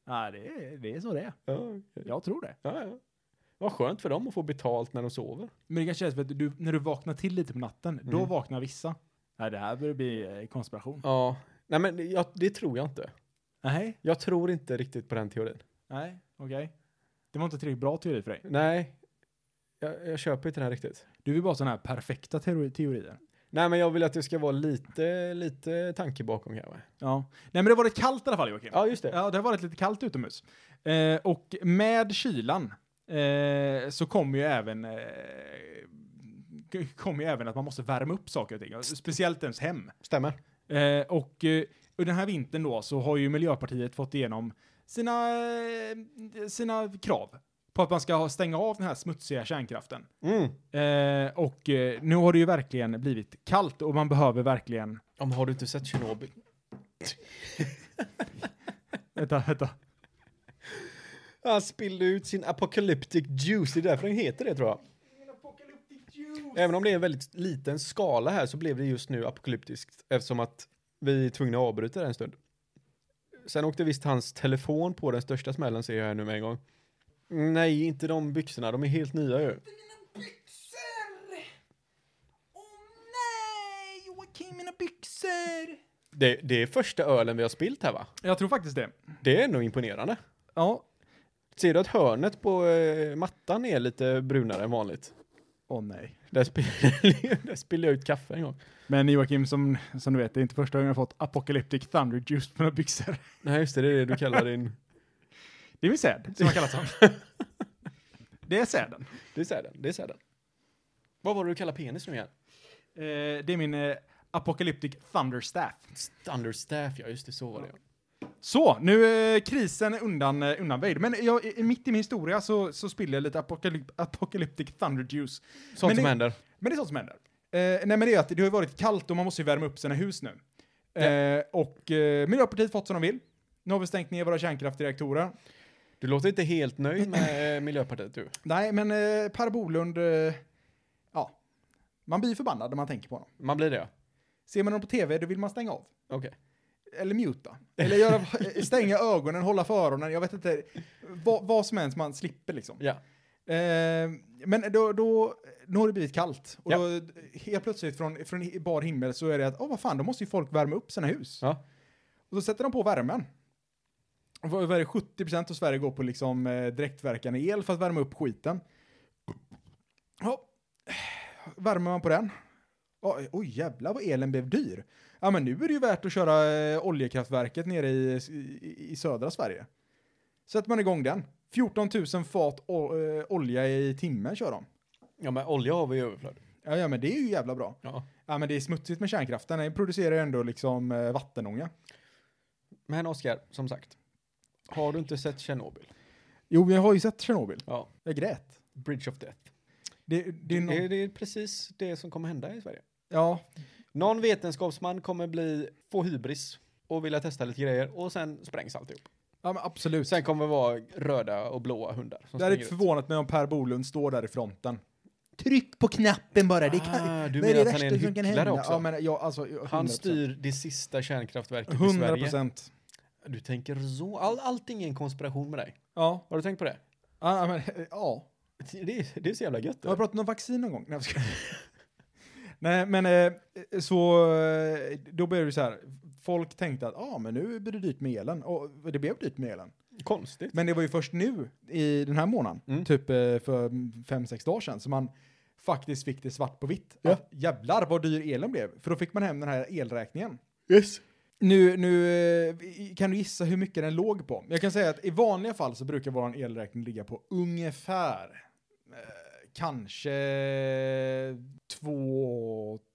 [SPEAKER 2] Nej, det är, det är så det är.
[SPEAKER 3] ja, okej.
[SPEAKER 2] Jag tror det.
[SPEAKER 3] ja, ja. Vad skönt för dem att få betalt när de sover.
[SPEAKER 2] Men det kanske är så att du, när du vaknar till lite på natten, då
[SPEAKER 3] Mm.
[SPEAKER 2] vaknar vissa. Nej, det här börjar bli eh, konspiration.
[SPEAKER 3] Ja. Nej, men det- jag, det tror jag inte.
[SPEAKER 2] Nej,
[SPEAKER 3] Jag tror inte riktigt på den teorin.
[SPEAKER 2] nej, okej. Det var inte tillräckligt bra teori för dig.
[SPEAKER 3] Nej, jag, jag köper inte den här riktigt.
[SPEAKER 2] Du vill bara ha sådana här perfekta teori- teorier.
[SPEAKER 3] Nej, men jag vill att det ska vara lite, lite tanke bakom här. va?
[SPEAKER 2] Ja. Nej, men det var varit kallt i alla fall, Joakim.
[SPEAKER 3] Ja, just det.
[SPEAKER 2] Ja, det har varit lite kallt utomhus. Eh, och med kylan eh, så kommer ju även eh, k- kommer ju även att man måste värma upp saker och ting. Speciellt ens hem.
[SPEAKER 3] Stämmer.
[SPEAKER 2] Eh, och, eh, och den här vintern då så har ju Miljöpartiet fått igenom sina, eh, sina krav på att man ska ha- stänga av den här smutsiga kärnkraften.
[SPEAKER 3] Mm.
[SPEAKER 2] Eh, och eh, nu har det ju verkligen blivit kallt och man behöver verkligen...
[SPEAKER 3] Ja, men har du inte sett Tjernobyl?
[SPEAKER 2] Vänta, vänta.
[SPEAKER 3] Han spillde ut sin apocalyptic juice. Det är därför den heter det, tror jag. Även om det är en väldigt liten skala här så blev det just nu apokalyptiskt eftersom att vi är tvungna att avbryta det en stund. Sen åkte visst hans telefon på den största smällen ser jag här nu med en gång. Nej, inte de byxorna. De är helt nya ju.
[SPEAKER 4] Nej, Joakim, mina byxor!
[SPEAKER 3] Det, det är första ölen vi har spilt här va?
[SPEAKER 2] Jag tror faktiskt det.
[SPEAKER 3] Det är nog imponerande.
[SPEAKER 2] Ja.
[SPEAKER 3] Ser du att hörnet på eh, mattan är lite brunare än vanligt?
[SPEAKER 2] Åh nej.
[SPEAKER 3] Där, spill- där spillde jag ut kaffe en gång.
[SPEAKER 2] Men Joakim, som, som du vet, det är inte första gången jag fått apocalyptic thunder juice på mina byxor.
[SPEAKER 3] Nej, just det. Det är det du kallar din...
[SPEAKER 2] Det är väl säd, som man kallar sånt. det är säden.
[SPEAKER 3] Det är säden. Det är säden. Vad var det du kallade penis nu igen?
[SPEAKER 2] Eh, det är min eh, apocalyptic thunderstaff.
[SPEAKER 3] Thunderstaff, ja just det, så var det. ja.
[SPEAKER 2] Så, nu är krisen undan, eh, undanböjd. Men jag, i- mitt i min historia så, så spiller jag lite apokalyp, apocalyptic thunder juice.
[SPEAKER 3] Sånt
[SPEAKER 2] Men
[SPEAKER 3] som
[SPEAKER 2] det-
[SPEAKER 3] händer.
[SPEAKER 2] Men det är sånt som händer. Eh, nej men det är att det har ju varit kallt och man måste ju värma upp sina hus nu. Eh, och eh, Miljöpartiet fått som de vill. Nu har vi stängt ner våra kärnkraftreaktorer.
[SPEAKER 3] Du låter inte helt nöjd med eh, Miljöpartiet du.
[SPEAKER 2] Nej, men eh, Per Bolund, eh, ja. Man blir förbannad när man tänker på honom.
[SPEAKER 3] Man blir det ja.
[SPEAKER 2] Ser man honom på tv, då vill man stänga av.
[SPEAKER 3] Okej.
[SPEAKER 2] Eller muta. Eller göra, stänga ögonen, hålla för öronen. Jag vet inte. Vad, vad som helst man slipper liksom.
[SPEAKER 3] Ja.
[SPEAKER 2] Eh, men då, då, nu har det blivit kallt. Och
[SPEAKER 3] Ja.
[SPEAKER 2] då, helt plötsligt från, från hi- bar himmel så är det att, åh vad fan, då måste ju folk värma upp sina hus.
[SPEAKER 3] Ja.
[SPEAKER 2] Och då sätter de på värmen. Och vad vad är det, 70% av Sverige går på liksom eh, direktverkande el för att värma upp skiten. Ja, värmer man på den. Oj, oj jävlar vad elen blev dyr. Ja men nu är det ju värt att köra eh, oljekraftverket nere i, i, i södra Sverige. Sätter man igång den. 14 000 fat o, eh, olja i timmen kör de.
[SPEAKER 3] ja, men olja har vi i överflöd.
[SPEAKER 2] Ja, ja men det är ju jävla bra.
[SPEAKER 3] Ja.
[SPEAKER 2] Ja men det är smutsigt med kärnkraften. Den producerar ju ändå liksom eh, vattenånga.
[SPEAKER 3] Men Oskar, som sagt. Har du inte sett Tjernobyl?
[SPEAKER 2] Jo, jag har ju sett Tjernobyl.
[SPEAKER 3] Ja,
[SPEAKER 2] Jag grät.
[SPEAKER 3] Bridge of Death.
[SPEAKER 2] Det, det
[SPEAKER 3] Det
[SPEAKER 2] är
[SPEAKER 3] är, det,
[SPEAKER 2] någon,
[SPEAKER 3] är, precis det som kommer hända i Sverige.
[SPEAKER 2] ja,
[SPEAKER 3] Någon vetenskapsman kommer bli, få hybris och vilja testa lite grejer och sen sprängs alltihop.
[SPEAKER 2] ja men absolut.
[SPEAKER 3] Sen kommer det vara röda och blåa hundar. Som
[SPEAKER 2] det hade
[SPEAKER 3] springer ut.
[SPEAKER 2] förvånat mig om Per Bolund står där i fronten.
[SPEAKER 4] Tryck på knappen bara. Det kan,
[SPEAKER 3] Ah, du
[SPEAKER 4] det
[SPEAKER 3] menar
[SPEAKER 4] är det
[SPEAKER 3] att han är en
[SPEAKER 4] värsta som kan
[SPEAKER 3] hycklare
[SPEAKER 4] hända.
[SPEAKER 3] också?
[SPEAKER 2] Ja, men jag, alltså,
[SPEAKER 3] Han
[SPEAKER 2] 100%.
[SPEAKER 3] styr det sista kärnkraftverket i
[SPEAKER 2] 100
[SPEAKER 3] Sverige.
[SPEAKER 2] procent.
[SPEAKER 3] Du tänker så. All, allting är en konspiration med dig.
[SPEAKER 2] Ja.
[SPEAKER 3] Har du tänkt på det?
[SPEAKER 2] Ja, men, ja.
[SPEAKER 3] Det är, det är så jävla gött.
[SPEAKER 2] Jag har pratat om vaccin någon gång. Nej, jag skojar. Nej men eh, så eh, då blev det så här. Folk tänkte att ah, men nu blir det dyrt med elen. Och det blev dyrt med elen.
[SPEAKER 3] Konstigt.
[SPEAKER 2] Men det var ju först nu i den här månaden,
[SPEAKER 3] Mm.
[SPEAKER 2] typ eh, för fem sex dagar sedan, som man faktiskt fick det svart på vitt.
[SPEAKER 3] Ja.
[SPEAKER 2] Att, jävlar vad dyr elen blev. För då fick man hem den här elräkningen.
[SPEAKER 3] Yes.
[SPEAKER 2] Nu, nu eh, kan du gissa hur mycket den låg på. Jag kan säga att i vanliga fall så brukar vår elräkning ligga på ungefär eh, kanske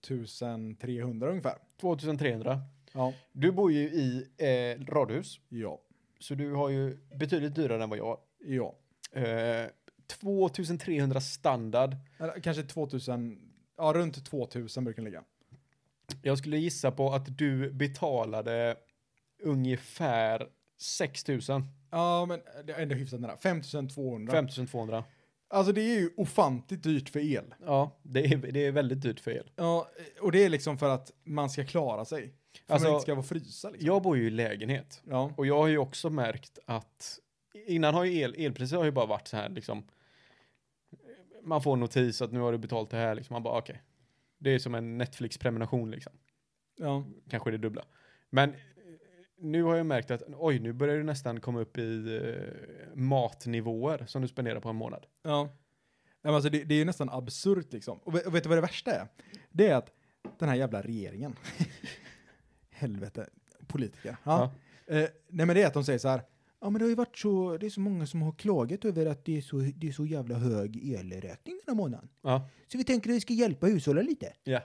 [SPEAKER 2] 2300 ungefär.
[SPEAKER 3] 2300.
[SPEAKER 2] Ja.
[SPEAKER 3] Du bor ju i eh, radhus,
[SPEAKER 2] Ja.
[SPEAKER 3] så du har ju betydligt dyrare än vad jag.
[SPEAKER 2] Ja.
[SPEAKER 3] Eh, 2300 standard.
[SPEAKER 2] Eller, kanske 2000, ja runt 2000 brukar den ligga.
[SPEAKER 3] Jag skulle gissa på att du betalade ungefär 6000,
[SPEAKER 2] Ja, men det är ändå hyfsat nära. 5200.
[SPEAKER 3] 5200.
[SPEAKER 2] Alltså det är ju ofantligt dyrt för el.
[SPEAKER 3] Ja, det är, det är väldigt dyrt för el.
[SPEAKER 2] Ja, och det är liksom för att man ska klara sig. För
[SPEAKER 3] Alltså,
[SPEAKER 2] man inte ska vara frysa liksom.
[SPEAKER 3] Jag bor ju i lägenhet
[SPEAKER 2] Ja.
[SPEAKER 3] och jag har ju också märkt att innan har ju el, elpriser har ju bara varit så här liksom. Man får en notis att nu har du betalt det här liksom. Man bara okej. Det är som en Netflix-prenumeration liksom.
[SPEAKER 2] ja.
[SPEAKER 3] kanske det dubbla. Men eh, nu har jag märkt att oj, nu börjar du nästan komma upp i eh, matnivåer som du spenderar på en månad.
[SPEAKER 2] Ja. Nej, men alltså det, det är ju nästan absurt liksom. Och, ve- och vet du vad det värsta är? Det är att den här jävla regeringen. Helvete, politiker. Ja. Eh, nej men det är att de säger så här. Ja men det har ju varit så, det är så många som har klagat över att det är så, det är så jävla hög elräkning den här månaden.
[SPEAKER 3] Ja,
[SPEAKER 4] Så vi tänker att vi ska hjälpa hushållen lite.
[SPEAKER 3] ja.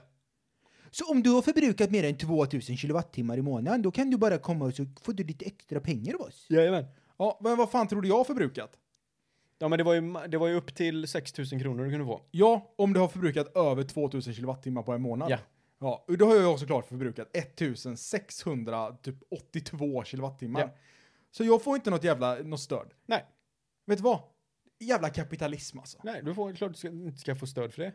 [SPEAKER 4] Så om du har förbrukat mer än 2000 kilowattimmar i månaden, då kan du bara komma och så får du lite extra pengar av oss.
[SPEAKER 3] Jajamän.
[SPEAKER 2] Ja, men vad fan trodde jag förbrukat?
[SPEAKER 3] Ja, men det var ju, ma- det var ju upp till 6 000 kronor du kunde få.
[SPEAKER 2] Ja, om du har förbrukat över 2000 kilowattimmar på en månad.
[SPEAKER 3] Ja.
[SPEAKER 2] Ja, och då har jag såklart förbrukat 1682 kilowattimmar.
[SPEAKER 3] Ja.
[SPEAKER 2] Så jag får inte något jävla, något stöd.
[SPEAKER 3] Nej,
[SPEAKER 2] Vet du vad? Jävla kapitalism alltså.
[SPEAKER 3] nej, du får klart du ska, inte ska få stöd för det.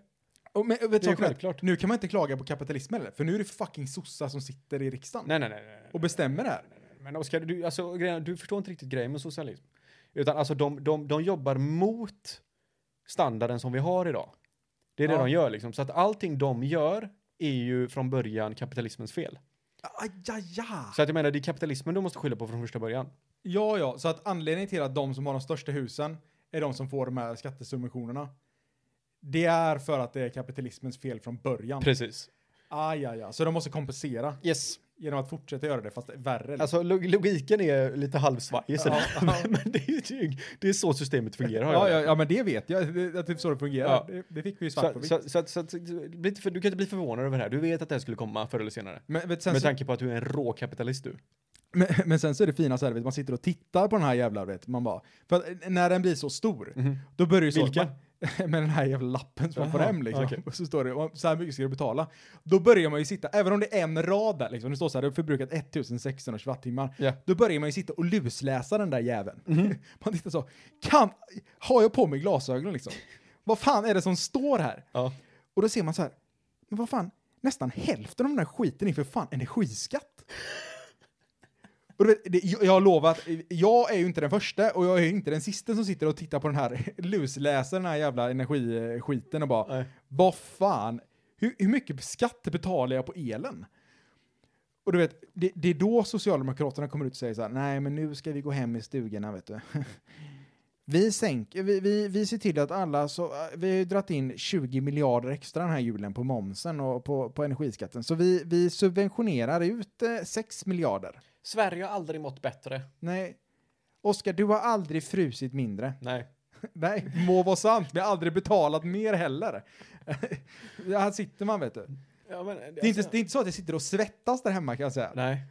[SPEAKER 2] Och men, vet
[SPEAKER 3] Det är
[SPEAKER 2] du vad?
[SPEAKER 3] självklart.
[SPEAKER 2] Nu kan man inte klaga på kapitalismen heller, för nu är det fucking sossar som sitter i riksdagen
[SPEAKER 3] Nej, nej, nej. nej, nej.
[SPEAKER 2] och bestämmer det här.
[SPEAKER 3] Men Oskar, du, alltså, grejen- du förstår inte riktigt grejen med socialism. Utan alltså de, de, de jobbar mot standarden som vi har idag. Det är det
[SPEAKER 2] Ja.
[SPEAKER 3] de gör liksom. Så att allting de gör är ju från början kapitalismens fel.
[SPEAKER 2] Ajaja!
[SPEAKER 3] Så att jag menar, det är kapitalismen du måste skylla på från första början.
[SPEAKER 2] Ja, ja, så att anledningen till att de som har de största husen är de som får de här skattesubventionerna. Det är för att det är kapitalismens fel från början.
[SPEAKER 3] Precis.
[SPEAKER 2] Aj, aj, aj. Så de måste kompensera
[SPEAKER 3] Yes.
[SPEAKER 2] genom att fortsätta göra det, fast värre. liksom.
[SPEAKER 3] Alltså log- logiken är lite halvsvajig sådär. Men det är, ju- det är så systemet fungerar. har
[SPEAKER 2] ja,
[SPEAKER 3] jag
[SPEAKER 2] ja, ja, men det vet jag. Det, att det är så det fungerar.
[SPEAKER 3] Ja.
[SPEAKER 2] Det, det fick vi ju svart på
[SPEAKER 3] Så,
[SPEAKER 2] vitt.
[SPEAKER 3] så, så, att- så, att- så, att- bli inte för- du kan inte bli förvånad över det här. Du vet att det här skulle komma förr eller senare.
[SPEAKER 2] Men, vet, sen,
[SPEAKER 3] Med
[SPEAKER 2] så,
[SPEAKER 3] tanke på att du är en råkapitalist du.
[SPEAKER 2] men, men sen så är det fina så här, vet, man sitter och tittar på den här jävla, vet, man bara, för att när den blir så stor, då börjar ju så.
[SPEAKER 3] Mhm. Vilken?
[SPEAKER 2] Med den här jävla lappen som man får
[SPEAKER 3] Jaha,
[SPEAKER 2] hem liksom.
[SPEAKER 3] okej.
[SPEAKER 2] Och så står det, "Och så här mycket ska du betala. Då börjar man ju sitta, även om det är en rad där liksom, det står så här, du har förbrukat 1600 kilowattimmar.
[SPEAKER 3] Ja. Mhm.
[SPEAKER 2] Då börjar man ju sitta och lusläsa den där jäveln. Man tittar så, kan, har jag på mig glasögon liksom? Vad fan är det som står här?
[SPEAKER 3] Ja.
[SPEAKER 2] Och då ser man så här, men vad fan, nästan hälften av den här skiten är för fan energiskatt. Och du vet, det, jag, jag lovar att jag är ju inte den första och jag är ju inte den sista som sitter och tittar på den här lusläser den här jävla energiskiten och bara,
[SPEAKER 3] Nej.
[SPEAKER 2] vad fan, hur, hur mycket skatt betalar jag på elen? Och du vet, det, det är då Socialdemokraterna kommer ut och säger så här, nej men nu ska vi gå hem i stugorna vet du. Vi sänker, vi, vi, vi ser till att alla, så, eh, vi har ju dragit in 20 miljarder extra den här julen på momsen och på, på energiskatten. Så vi, vi subventionerar ut eh, 6 miljarder.
[SPEAKER 3] Sverige har aldrig mått bättre.
[SPEAKER 2] Nej, Oskar, du har aldrig frusit mindre.
[SPEAKER 3] Nej.
[SPEAKER 2] Nej, må vara sant, vi har aldrig betalat mer heller. Ja, här sitter man vet du.
[SPEAKER 3] Ja, men, alltså-
[SPEAKER 2] Det är, inte, det är inte så att jag sitter och svettas där hemma kan jag säga.
[SPEAKER 3] Nej.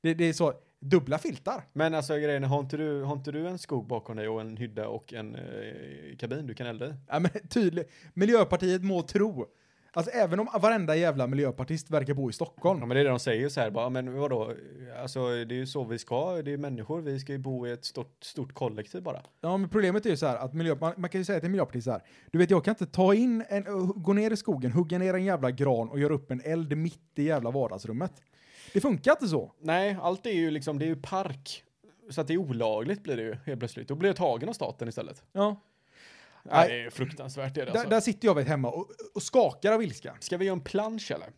[SPEAKER 2] Det, det är så, Dubbla filtar.
[SPEAKER 3] Men alltså grejen är, har inte du, har inte du en skog bakom dig och en hydda och en eh, kabin du kan elda i?
[SPEAKER 2] Ja, men tydligt. Miljöpartiet må tro. Alltså även om varenda jävla miljöpartist verkar bo i Stockholm.
[SPEAKER 3] Ja men det är det de säger så här bara, men vadå, alltså det är ju så vi ska, det är människor, vi ska ju bo i ett stort, stort kollektiv bara.
[SPEAKER 2] Ja, men problemet är ju så här att miljö, man, man kan ju säga till miljöpartister så här. Du vet, jag kan inte ta in en, ö, gå ner i skogen, hugga ner en jävla gran och göra upp en eld mitt i jävla vardagsrummet. Det funkar inte så.
[SPEAKER 3] Nej, allt är ju liksom, det är ju park. Så att det är olagligt blir det ju helt plötsligt. Då blir jag tagen av staten istället.
[SPEAKER 2] Ja.
[SPEAKER 3] Nej, det är ju fruktansvärt det är det,
[SPEAKER 2] Där,
[SPEAKER 3] alltså.
[SPEAKER 2] där sitter jag vet hemma och, och skakar av ilska.
[SPEAKER 3] Ska vi göra en plansch eller?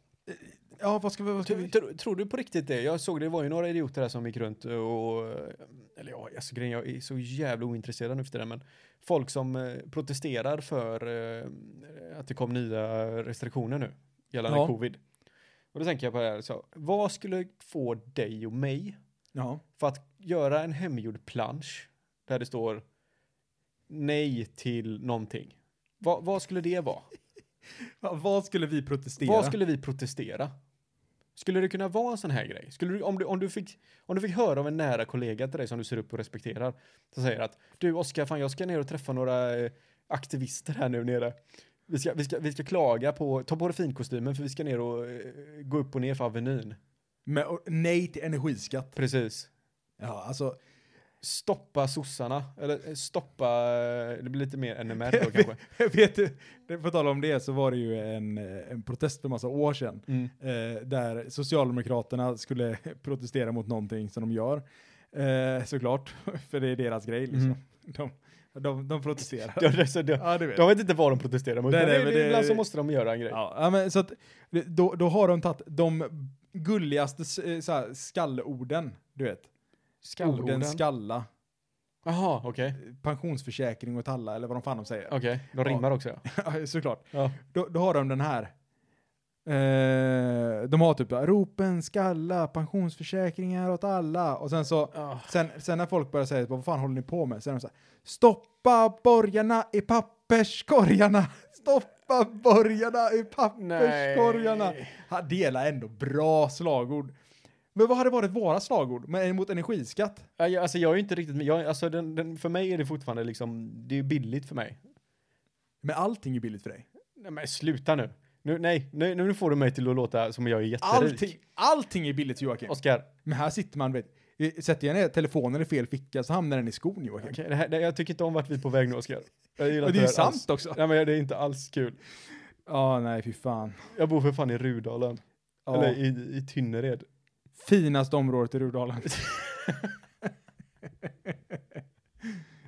[SPEAKER 2] Ja, vad ska vi... Vad ska
[SPEAKER 3] Tro-
[SPEAKER 2] vi?
[SPEAKER 3] tro- Tror du på riktigt det? Jag såg det var ju några idioter där som gick runt och... eh, Eller ja, alltså, grejen, jag är så jävla ointresserad nu för det men folk som eh, protesterar för eh, att det kom nya restriktioner nu gällande
[SPEAKER 2] Ja.
[SPEAKER 3] covid. Och då tänker jag på det här, så, vad skulle få dig och mig
[SPEAKER 2] Ja.
[SPEAKER 3] för att göra en hemgjord plansch där det står nej till någonting? Vad, vad skulle det vara?
[SPEAKER 2] Va- Vad skulle vi protestera?
[SPEAKER 3] Vad skulle vi protestera? Skulle det kunna vara en sån här grej? Skulle du, om, du, om, du fick, om du fick höra av en nära kollega till dig som du ser upp och respekterar, som säger att du Oskar, fan jag ska ner och träffa några eh, aktivister här nu nere. Vi ska, vi ska, vi ska klaga på, ta på dig finkostymen för vi ska ner och eh, gå upp och ner för Avenyn.
[SPEAKER 2] Med, och nej till energiskatt.
[SPEAKER 3] Precis.
[SPEAKER 2] Ja, alltså...
[SPEAKER 3] Stoppa sossarna, eller eh, stoppa, eh, det blir lite mer NMR då kanske.
[SPEAKER 2] Vet du, det- på tal om det så var det ju en, eh, en protest för massa år sedan.
[SPEAKER 3] Mm.
[SPEAKER 2] eh, där Socialdemokraterna skulle protestera mot någonting som de gör. Eh, såklart, för det är deras grej liksom.
[SPEAKER 3] Mm.
[SPEAKER 2] De, de, de protesterar.
[SPEAKER 3] Ja, det- så det-
[SPEAKER 2] ja, du vet.
[SPEAKER 3] De vet inte vad de protesterar mot,
[SPEAKER 2] Nej,
[SPEAKER 3] men
[SPEAKER 2] nej,
[SPEAKER 3] det-
[SPEAKER 2] men
[SPEAKER 3] det-
[SPEAKER 2] det-
[SPEAKER 3] ibland så måste de göra en grej.
[SPEAKER 2] Ja, ja, men så att, det- då, då har de tagit de gulligaste s- eh, så här, skallorden, du vet. Orden skalla,
[SPEAKER 3] Jaha, okej.
[SPEAKER 2] pensionsförsäkring och talla eller vad de fan de säger.
[SPEAKER 3] Okej, de rimmar också ja.
[SPEAKER 2] Ja, såklart.
[SPEAKER 3] Ja.
[SPEAKER 2] Då, då har de den här. Eh, de har typ ropen, skalla, pensionsförsäkringar åt alla. Och sen så, sen, sen när folk börjar säga vad fan håller ni på med? Så är de så här, stoppa borgarna i papperskorgarna! Stoppa borgarna i papperskorgarna!
[SPEAKER 3] Nej.
[SPEAKER 2] Ha, det är ändå bra slagord. Men vad hade varit våra slagord Men mot energiskatt?
[SPEAKER 3] Ja, jag- Alltså jag är ju inte riktigt, jag, alltså den, den, för mig är det fortfarande liksom, det är ju billigt för mig.
[SPEAKER 2] Men allting är billigt för dig.
[SPEAKER 3] Nej men sluta nu. nu nej, nu, nu får du mig till att låta som jag är jätterik.
[SPEAKER 2] Allting, allting är billigt Joakim.
[SPEAKER 3] Oskar,
[SPEAKER 2] Men här sitter man, vet, sätter jag ner telefonen i fel ficka så hamnar den i skon Joakim.
[SPEAKER 3] okej, det här, det, jag tycker inte om vart vi är på väg nu Oskar. Jag gillar
[SPEAKER 2] Och
[SPEAKER 3] inte
[SPEAKER 2] det är ju
[SPEAKER 3] här alls.
[SPEAKER 2] sant också.
[SPEAKER 3] Nej men det är inte alls kul.
[SPEAKER 2] Ja, nej fy fan.
[SPEAKER 3] Jag bor för fan i Rudalen.
[SPEAKER 2] Ja.
[SPEAKER 3] Eller i, i Tynnered.
[SPEAKER 2] Finaste området i Rudalen.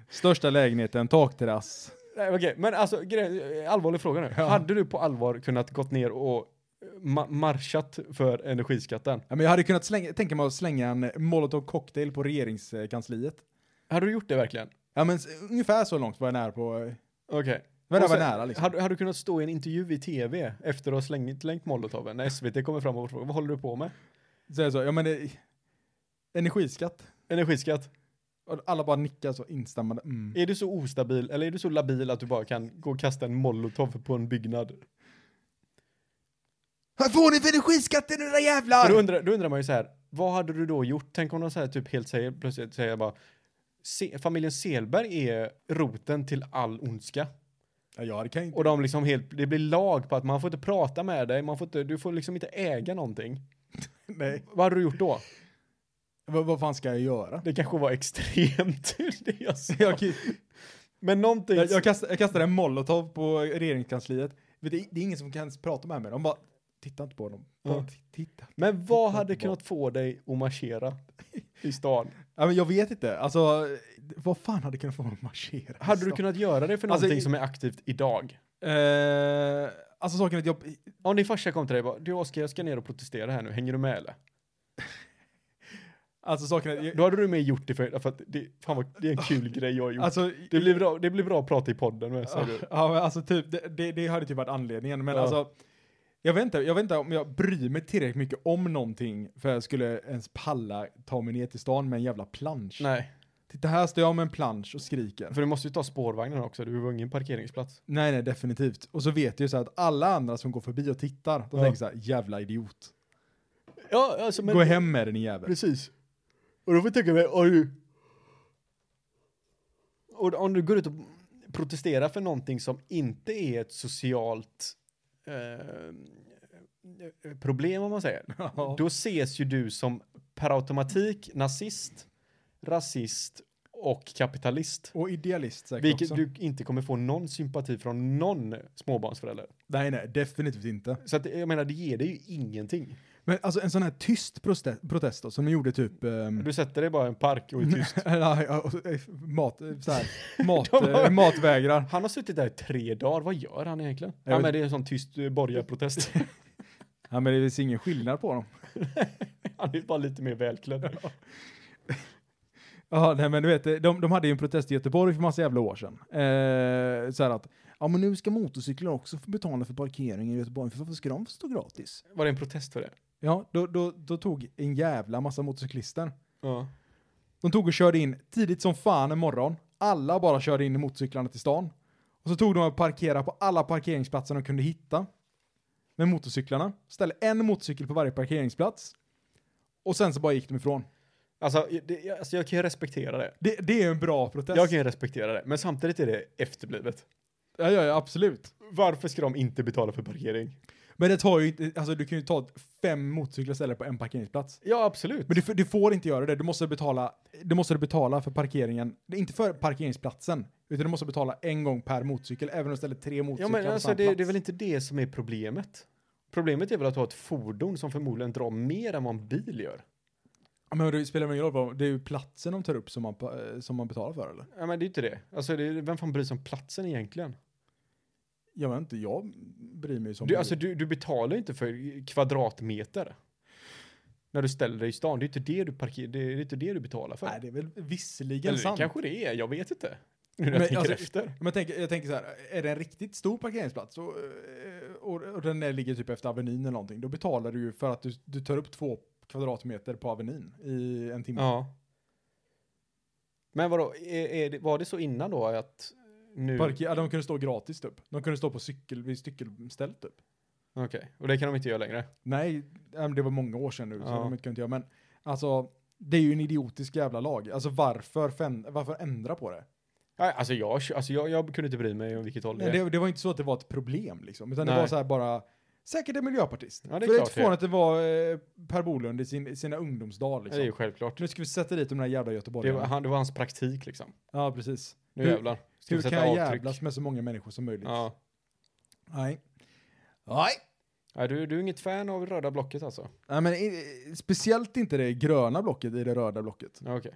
[SPEAKER 2] Största lägenheten, takterrass.
[SPEAKER 3] Nej okej, men alltså grej, allvarlig fråga nu.
[SPEAKER 2] Ja.
[SPEAKER 3] Hade du på allvar kunnat gått ner och ma- marschat för energiskatten?
[SPEAKER 2] Ja, men jag hade kunnat slänga, tänka mig att slänga en molotov cocktail på regeringskansliet.
[SPEAKER 3] Hade du gjort det verkligen?
[SPEAKER 2] Ja, men s- ungefär så långt var jag nära på. eh,
[SPEAKER 3] Okej.
[SPEAKER 2] Var jag
[SPEAKER 3] Och
[SPEAKER 2] var
[SPEAKER 3] sen-
[SPEAKER 2] nära liksom.
[SPEAKER 3] Hade, hade du kunnat stå i en intervju i tv efter att ha slängt, slängt molotoven när SVT kommer fram och frågar vad håller du på med?
[SPEAKER 2] Så jag sa, ja men det, energiskatt.
[SPEAKER 3] Energiskatt.
[SPEAKER 2] Och alla bara nickar så instämmande. Mm.
[SPEAKER 3] Är du så ostabil eller är du så labil att du bara kan gå och kasta en molotov på en byggnad?
[SPEAKER 2] Här får ni för energiskatten era
[SPEAKER 3] Men Då
[SPEAKER 2] jävlar!
[SPEAKER 3] undrar, då undrar man ju så här, vad hade du då gjort? Tänk om de så här typ helt säger, plötsligt säger bara "Se- Familjen Selberg är roten till all ondska.
[SPEAKER 2] Ja, jag kan ju inte.
[SPEAKER 3] Och de liksom helt, det blir lag på att man får inte prata med dig, man får inte, du får liksom inte äga någonting.
[SPEAKER 2] Nej.
[SPEAKER 3] Vad hade du gjort då?
[SPEAKER 2] Vad, vad fan ska jag göra?
[SPEAKER 3] Det kanske var extremt, det jag sa.
[SPEAKER 2] Jag, kan-
[SPEAKER 3] Men någonting...
[SPEAKER 2] jag, jag, kastade, jag kastade en molotov på regeringskansliet. Vet du, Det är ingen som kan ens prata med mig. De bara, titta inte på dem. Bara
[SPEAKER 3] Ja.
[SPEAKER 2] t- titta.
[SPEAKER 3] Men vad
[SPEAKER 2] Titta
[SPEAKER 3] hade
[SPEAKER 2] tillbaka.
[SPEAKER 3] kunnat få dig att marschera i stan?
[SPEAKER 2] Ja, men jag vet inte. Alltså, vad fan hade kunnat få mig att marschera?
[SPEAKER 3] Hade du kunnat göra det för
[SPEAKER 2] Alltså,
[SPEAKER 3] någonting
[SPEAKER 2] i-
[SPEAKER 3] som är aktivt idag?
[SPEAKER 2] Eh, alltså saken är att jag...
[SPEAKER 3] Om din farsa kom till dig och bara, du Oskar, jag ska ner och protestera här nu, hänger du med eller?
[SPEAKER 2] Alltså saken är att... Jag,
[SPEAKER 3] Då hade du med gjort det för, för att det, fan vad, det är en kul grej jag har gjort.
[SPEAKER 2] alltså,
[SPEAKER 3] det, blir bra, det blir bra att prata i podden med, sa du.
[SPEAKER 2] ja, men alltså typ, det, det, det hade typ varit anledningen. Men
[SPEAKER 3] Ja.
[SPEAKER 2] alltså, jag vet, inte, jag vet inte om jag bryr mig tillräckligt mycket om någonting för jag skulle ens palla ta mig ner till stan med en jävla plansch.
[SPEAKER 3] Nej,
[SPEAKER 2] Titta här står jag med en plansch och skriker.
[SPEAKER 3] för du måste ju ta spårvagnen också, du har ingen parkeringsplats.
[SPEAKER 2] Nej, nej, definitivt. Och så vet jag ju så här att alla andra som går förbi och tittar, de
[SPEAKER 3] Ja.
[SPEAKER 2] tänker så här, jävla idiot.
[SPEAKER 3] Ja, alltså men...
[SPEAKER 2] Gå hem med den i jävel.
[SPEAKER 3] Precis. Och då får jag tänka mig, har du... Och om du går ut och protesterar för någonting som inte är ett socialt eh, problem, om man säger, då ses ju du som per automatik nazist, rasist och kapitalist.
[SPEAKER 2] Och idealist säkert också.
[SPEAKER 3] Vilket du inte kommer få någon sympati från någon småbarnsförälder.
[SPEAKER 2] Nej, nej, definitivt inte.
[SPEAKER 3] Så att, jag menar, det ger dig ju ingenting.
[SPEAKER 2] Men alltså en sån här tyst proste- protest då, som de gjorde typ... ehm,
[SPEAKER 3] Du sätter dig bara i en park och är tyst.
[SPEAKER 2] ja, ja, och- eh, mat, eh, så här, mat,
[SPEAKER 3] De har-
[SPEAKER 2] eh, matvägrar.
[SPEAKER 3] Han har suttit där i tre dagar, vad gör han egentligen?
[SPEAKER 2] Jag
[SPEAKER 3] Ja
[SPEAKER 2] vet-
[SPEAKER 3] men det är en sån tyst eh, borgarprotest.
[SPEAKER 2] Ja, men det finns ingen skillnad på dem.
[SPEAKER 3] han är bara lite mer välklädd.
[SPEAKER 2] Ja, nej, men du vet, de, de hade ju en protest i Göteborg för massa jävla år sedan. Eh, så här att, ja men nu ska motorcyklar också få betala för parkeringen i Göteborg, för varför ska de få stå gratis?
[SPEAKER 3] Var det en protest för det?
[SPEAKER 2] Ja, då, då, då tog en jävla massa motorcyklister.
[SPEAKER 3] Ja.
[SPEAKER 2] De tog och körde in tidigt som fan en morgon. Alla bara körde in i motorcyklarna till stan. Och så tog de och parkerade på alla parkeringsplatser de kunde hitta. Med motorcyklarna. Ställde en motorcykel på varje parkeringsplats. Och sen så bara gick de ifrån.
[SPEAKER 3] Alltså, det, alltså jag kan ju respektera det.
[SPEAKER 2] Det, det är en bra protest.
[SPEAKER 3] Jag kan ju respektera det, men samtidigt är det efterblivet.
[SPEAKER 2] Ja, ja, ja, absolut.
[SPEAKER 3] Varför ska de inte betala för parkering?
[SPEAKER 2] Men det tar ju inte, alltså du kan ju ta fem motorcyklar istället på en parkeringsplats.
[SPEAKER 3] Ja, absolut.
[SPEAKER 2] Men du, f- du får inte göra det, du måste betala, du måste betala för parkeringen, Det är inte för parkeringsplatsen, utan du måste betala en gång per motorcykel, även om du ställer tre
[SPEAKER 3] ja,
[SPEAKER 2] motorcyklar
[SPEAKER 3] men
[SPEAKER 2] på
[SPEAKER 3] alltså,
[SPEAKER 2] samma
[SPEAKER 3] det,
[SPEAKER 2] plats.
[SPEAKER 3] det är väl inte det som är problemet? Problemet är väl att du har ett fordon som förmodligen drar mer än vad en bil gör.
[SPEAKER 2] Ja, men det spelar väl ingen roll, vad- det är ju platsen de tar upp som man, pa- eh, som man betalar för eller?
[SPEAKER 3] Ja, men det är ju inte det. Alltså, det, är- vem fan bryr sig om platsen egentligen?
[SPEAKER 2] Jag vet inte, jag bryr mig ju som
[SPEAKER 3] Du, alltså, du, du betalar ju inte för kvadratmeter. När du ställer dig i stan. Det är inte det du, parker, det är inte det du betalar för.
[SPEAKER 2] Nej, det är väl visserligen
[SPEAKER 3] Eller
[SPEAKER 2] sant.
[SPEAKER 3] det kanske det är, jag vet inte. Nu när jag
[SPEAKER 2] Men
[SPEAKER 3] tänker
[SPEAKER 2] alltså-
[SPEAKER 3] efter.
[SPEAKER 2] Men jag tänker, jag tänker så här, är det en riktigt stor parkeringsplats och, eh, och, och den där ligger typ efter Avenyn eller någonting, då betalar du ju för att du, du tar upp två kvadratmeter på Avenyn i en timme.
[SPEAKER 3] Ja. Men vadå, är, är det, var det så innan då att nu...
[SPEAKER 2] Parker, ja, de kunde stå gratis typ. De kunde stå på cykel, vid cykelstället typ.
[SPEAKER 3] Okej, och det kan de inte göra längre.
[SPEAKER 2] Nej, ja, men det var många år sedan nu så
[SPEAKER 3] Ja.
[SPEAKER 2] de inte kunde göra, men alltså det är ju en idiotisk jävla lag. Alltså varför, fem, varför ändra på det?
[SPEAKER 3] Nej, Alltså, jag, alltså jag, jag kunde inte bry mig om vilket håll det
[SPEAKER 2] Nej,
[SPEAKER 3] är.
[SPEAKER 2] det, det var inte så att det var ett problem liksom, utan det
[SPEAKER 3] Nej.
[SPEAKER 2] var så här bara, säkert en miljöpartist.
[SPEAKER 3] Ja, det är
[SPEAKER 2] För det är
[SPEAKER 3] klart
[SPEAKER 2] inte
[SPEAKER 3] det.
[SPEAKER 2] förvånande att det var eh, Per Bolund i sin, i sina ungdomsdagar
[SPEAKER 3] Det är ju
[SPEAKER 2] liksom.
[SPEAKER 3] självklart.
[SPEAKER 2] Nu ska vi sätta dit de där jävla
[SPEAKER 3] Det var,
[SPEAKER 2] göteborgarna.
[SPEAKER 3] han, det var hans praktik liksom.
[SPEAKER 2] Ja, precis.
[SPEAKER 3] Nu
[SPEAKER 2] Hur-
[SPEAKER 3] jävlar. Ska vi
[SPEAKER 2] Hur
[SPEAKER 3] sätta
[SPEAKER 2] kan jag
[SPEAKER 3] avtryck?
[SPEAKER 2] jävlas med så många människor som möjligt?
[SPEAKER 3] Ja.
[SPEAKER 2] Nej. Nej.
[SPEAKER 3] Nej, du, du är inget fan av röda blocket alltså?
[SPEAKER 2] Nej, men i- speciellt inte det gröna blocket i det röda blocket.
[SPEAKER 3] Ja, Okej.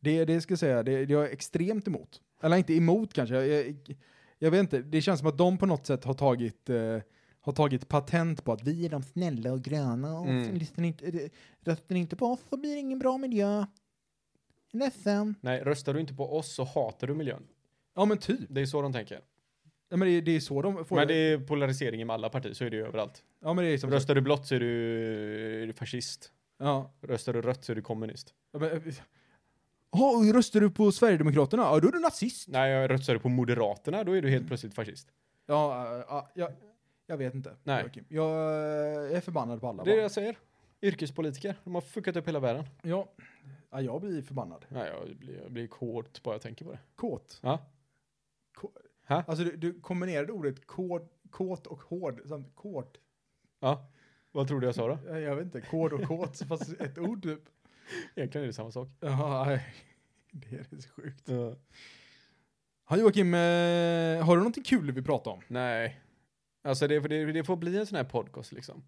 [SPEAKER 2] Det, det ska jag säga, det, det är jag extremt emot. Eller inte emot kanske, jag, jag, jag vet inte. Det känns som att de på något sätt har tagit, eh, har tagit patent på att vi är de snälla och gröna och
[SPEAKER 3] Mm.
[SPEAKER 2] lyssnar inte, eh, röstar ni inte på oss så blir det ingen bra miljö. Ledsen.
[SPEAKER 3] Nej, röstar du inte på oss så hatar du miljön.
[SPEAKER 2] Ja men typ.
[SPEAKER 3] Det är så de tänker.
[SPEAKER 2] Ja, men det, det är så de får
[SPEAKER 3] Men det är polariseringen med alla partier, så är det ju överallt.
[SPEAKER 2] Ja men det är som
[SPEAKER 3] Röstar du blått så är du är du fascist.
[SPEAKER 2] Ja.
[SPEAKER 3] Röstar du rött så är du kommunist.
[SPEAKER 2] Ja, men, eh, Ja, och röstar du på Sverigedemokraterna? Ja, då är du nazist.
[SPEAKER 3] Nej, röstar du på Moderaterna, då är du helt plötsligt fascist.
[SPEAKER 2] Ja, eh, ja, jag, jag vet inte.
[SPEAKER 3] Nej.
[SPEAKER 2] Joakim. Jag eh, är förbannad på alla.
[SPEAKER 3] Det är det
[SPEAKER 2] barn.
[SPEAKER 3] jag säger. Yrkespolitiker, de har fuckat upp hela världen.
[SPEAKER 2] Ja. ja, jag blir förbannad.
[SPEAKER 3] Nej, jag blir, jag blir kåt bara jag tänker på det.
[SPEAKER 2] Kåt.
[SPEAKER 3] Ja.
[SPEAKER 2] Ko-
[SPEAKER 3] Hä?
[SPEAKER 2] Alltså du, du kombinerade ordet kåt, kåt och hård samt kåt.
[SPEAKER 3] Ja. Vad tror du jag sa då?
[SPEAKER 2] Jag, jag vet inte, kåt och kåt fast ett ord typ.
[SPEAKER 3] Egentligen är det samma sak.
[SPEAKER 2] Ja, nej. det är så sjukt. Ja, Joakim, eh, har du någonting kul vi pratar om?
[SPEAKER 3] Nej. Alltså det, det, det får bli en sån här podcast liksom.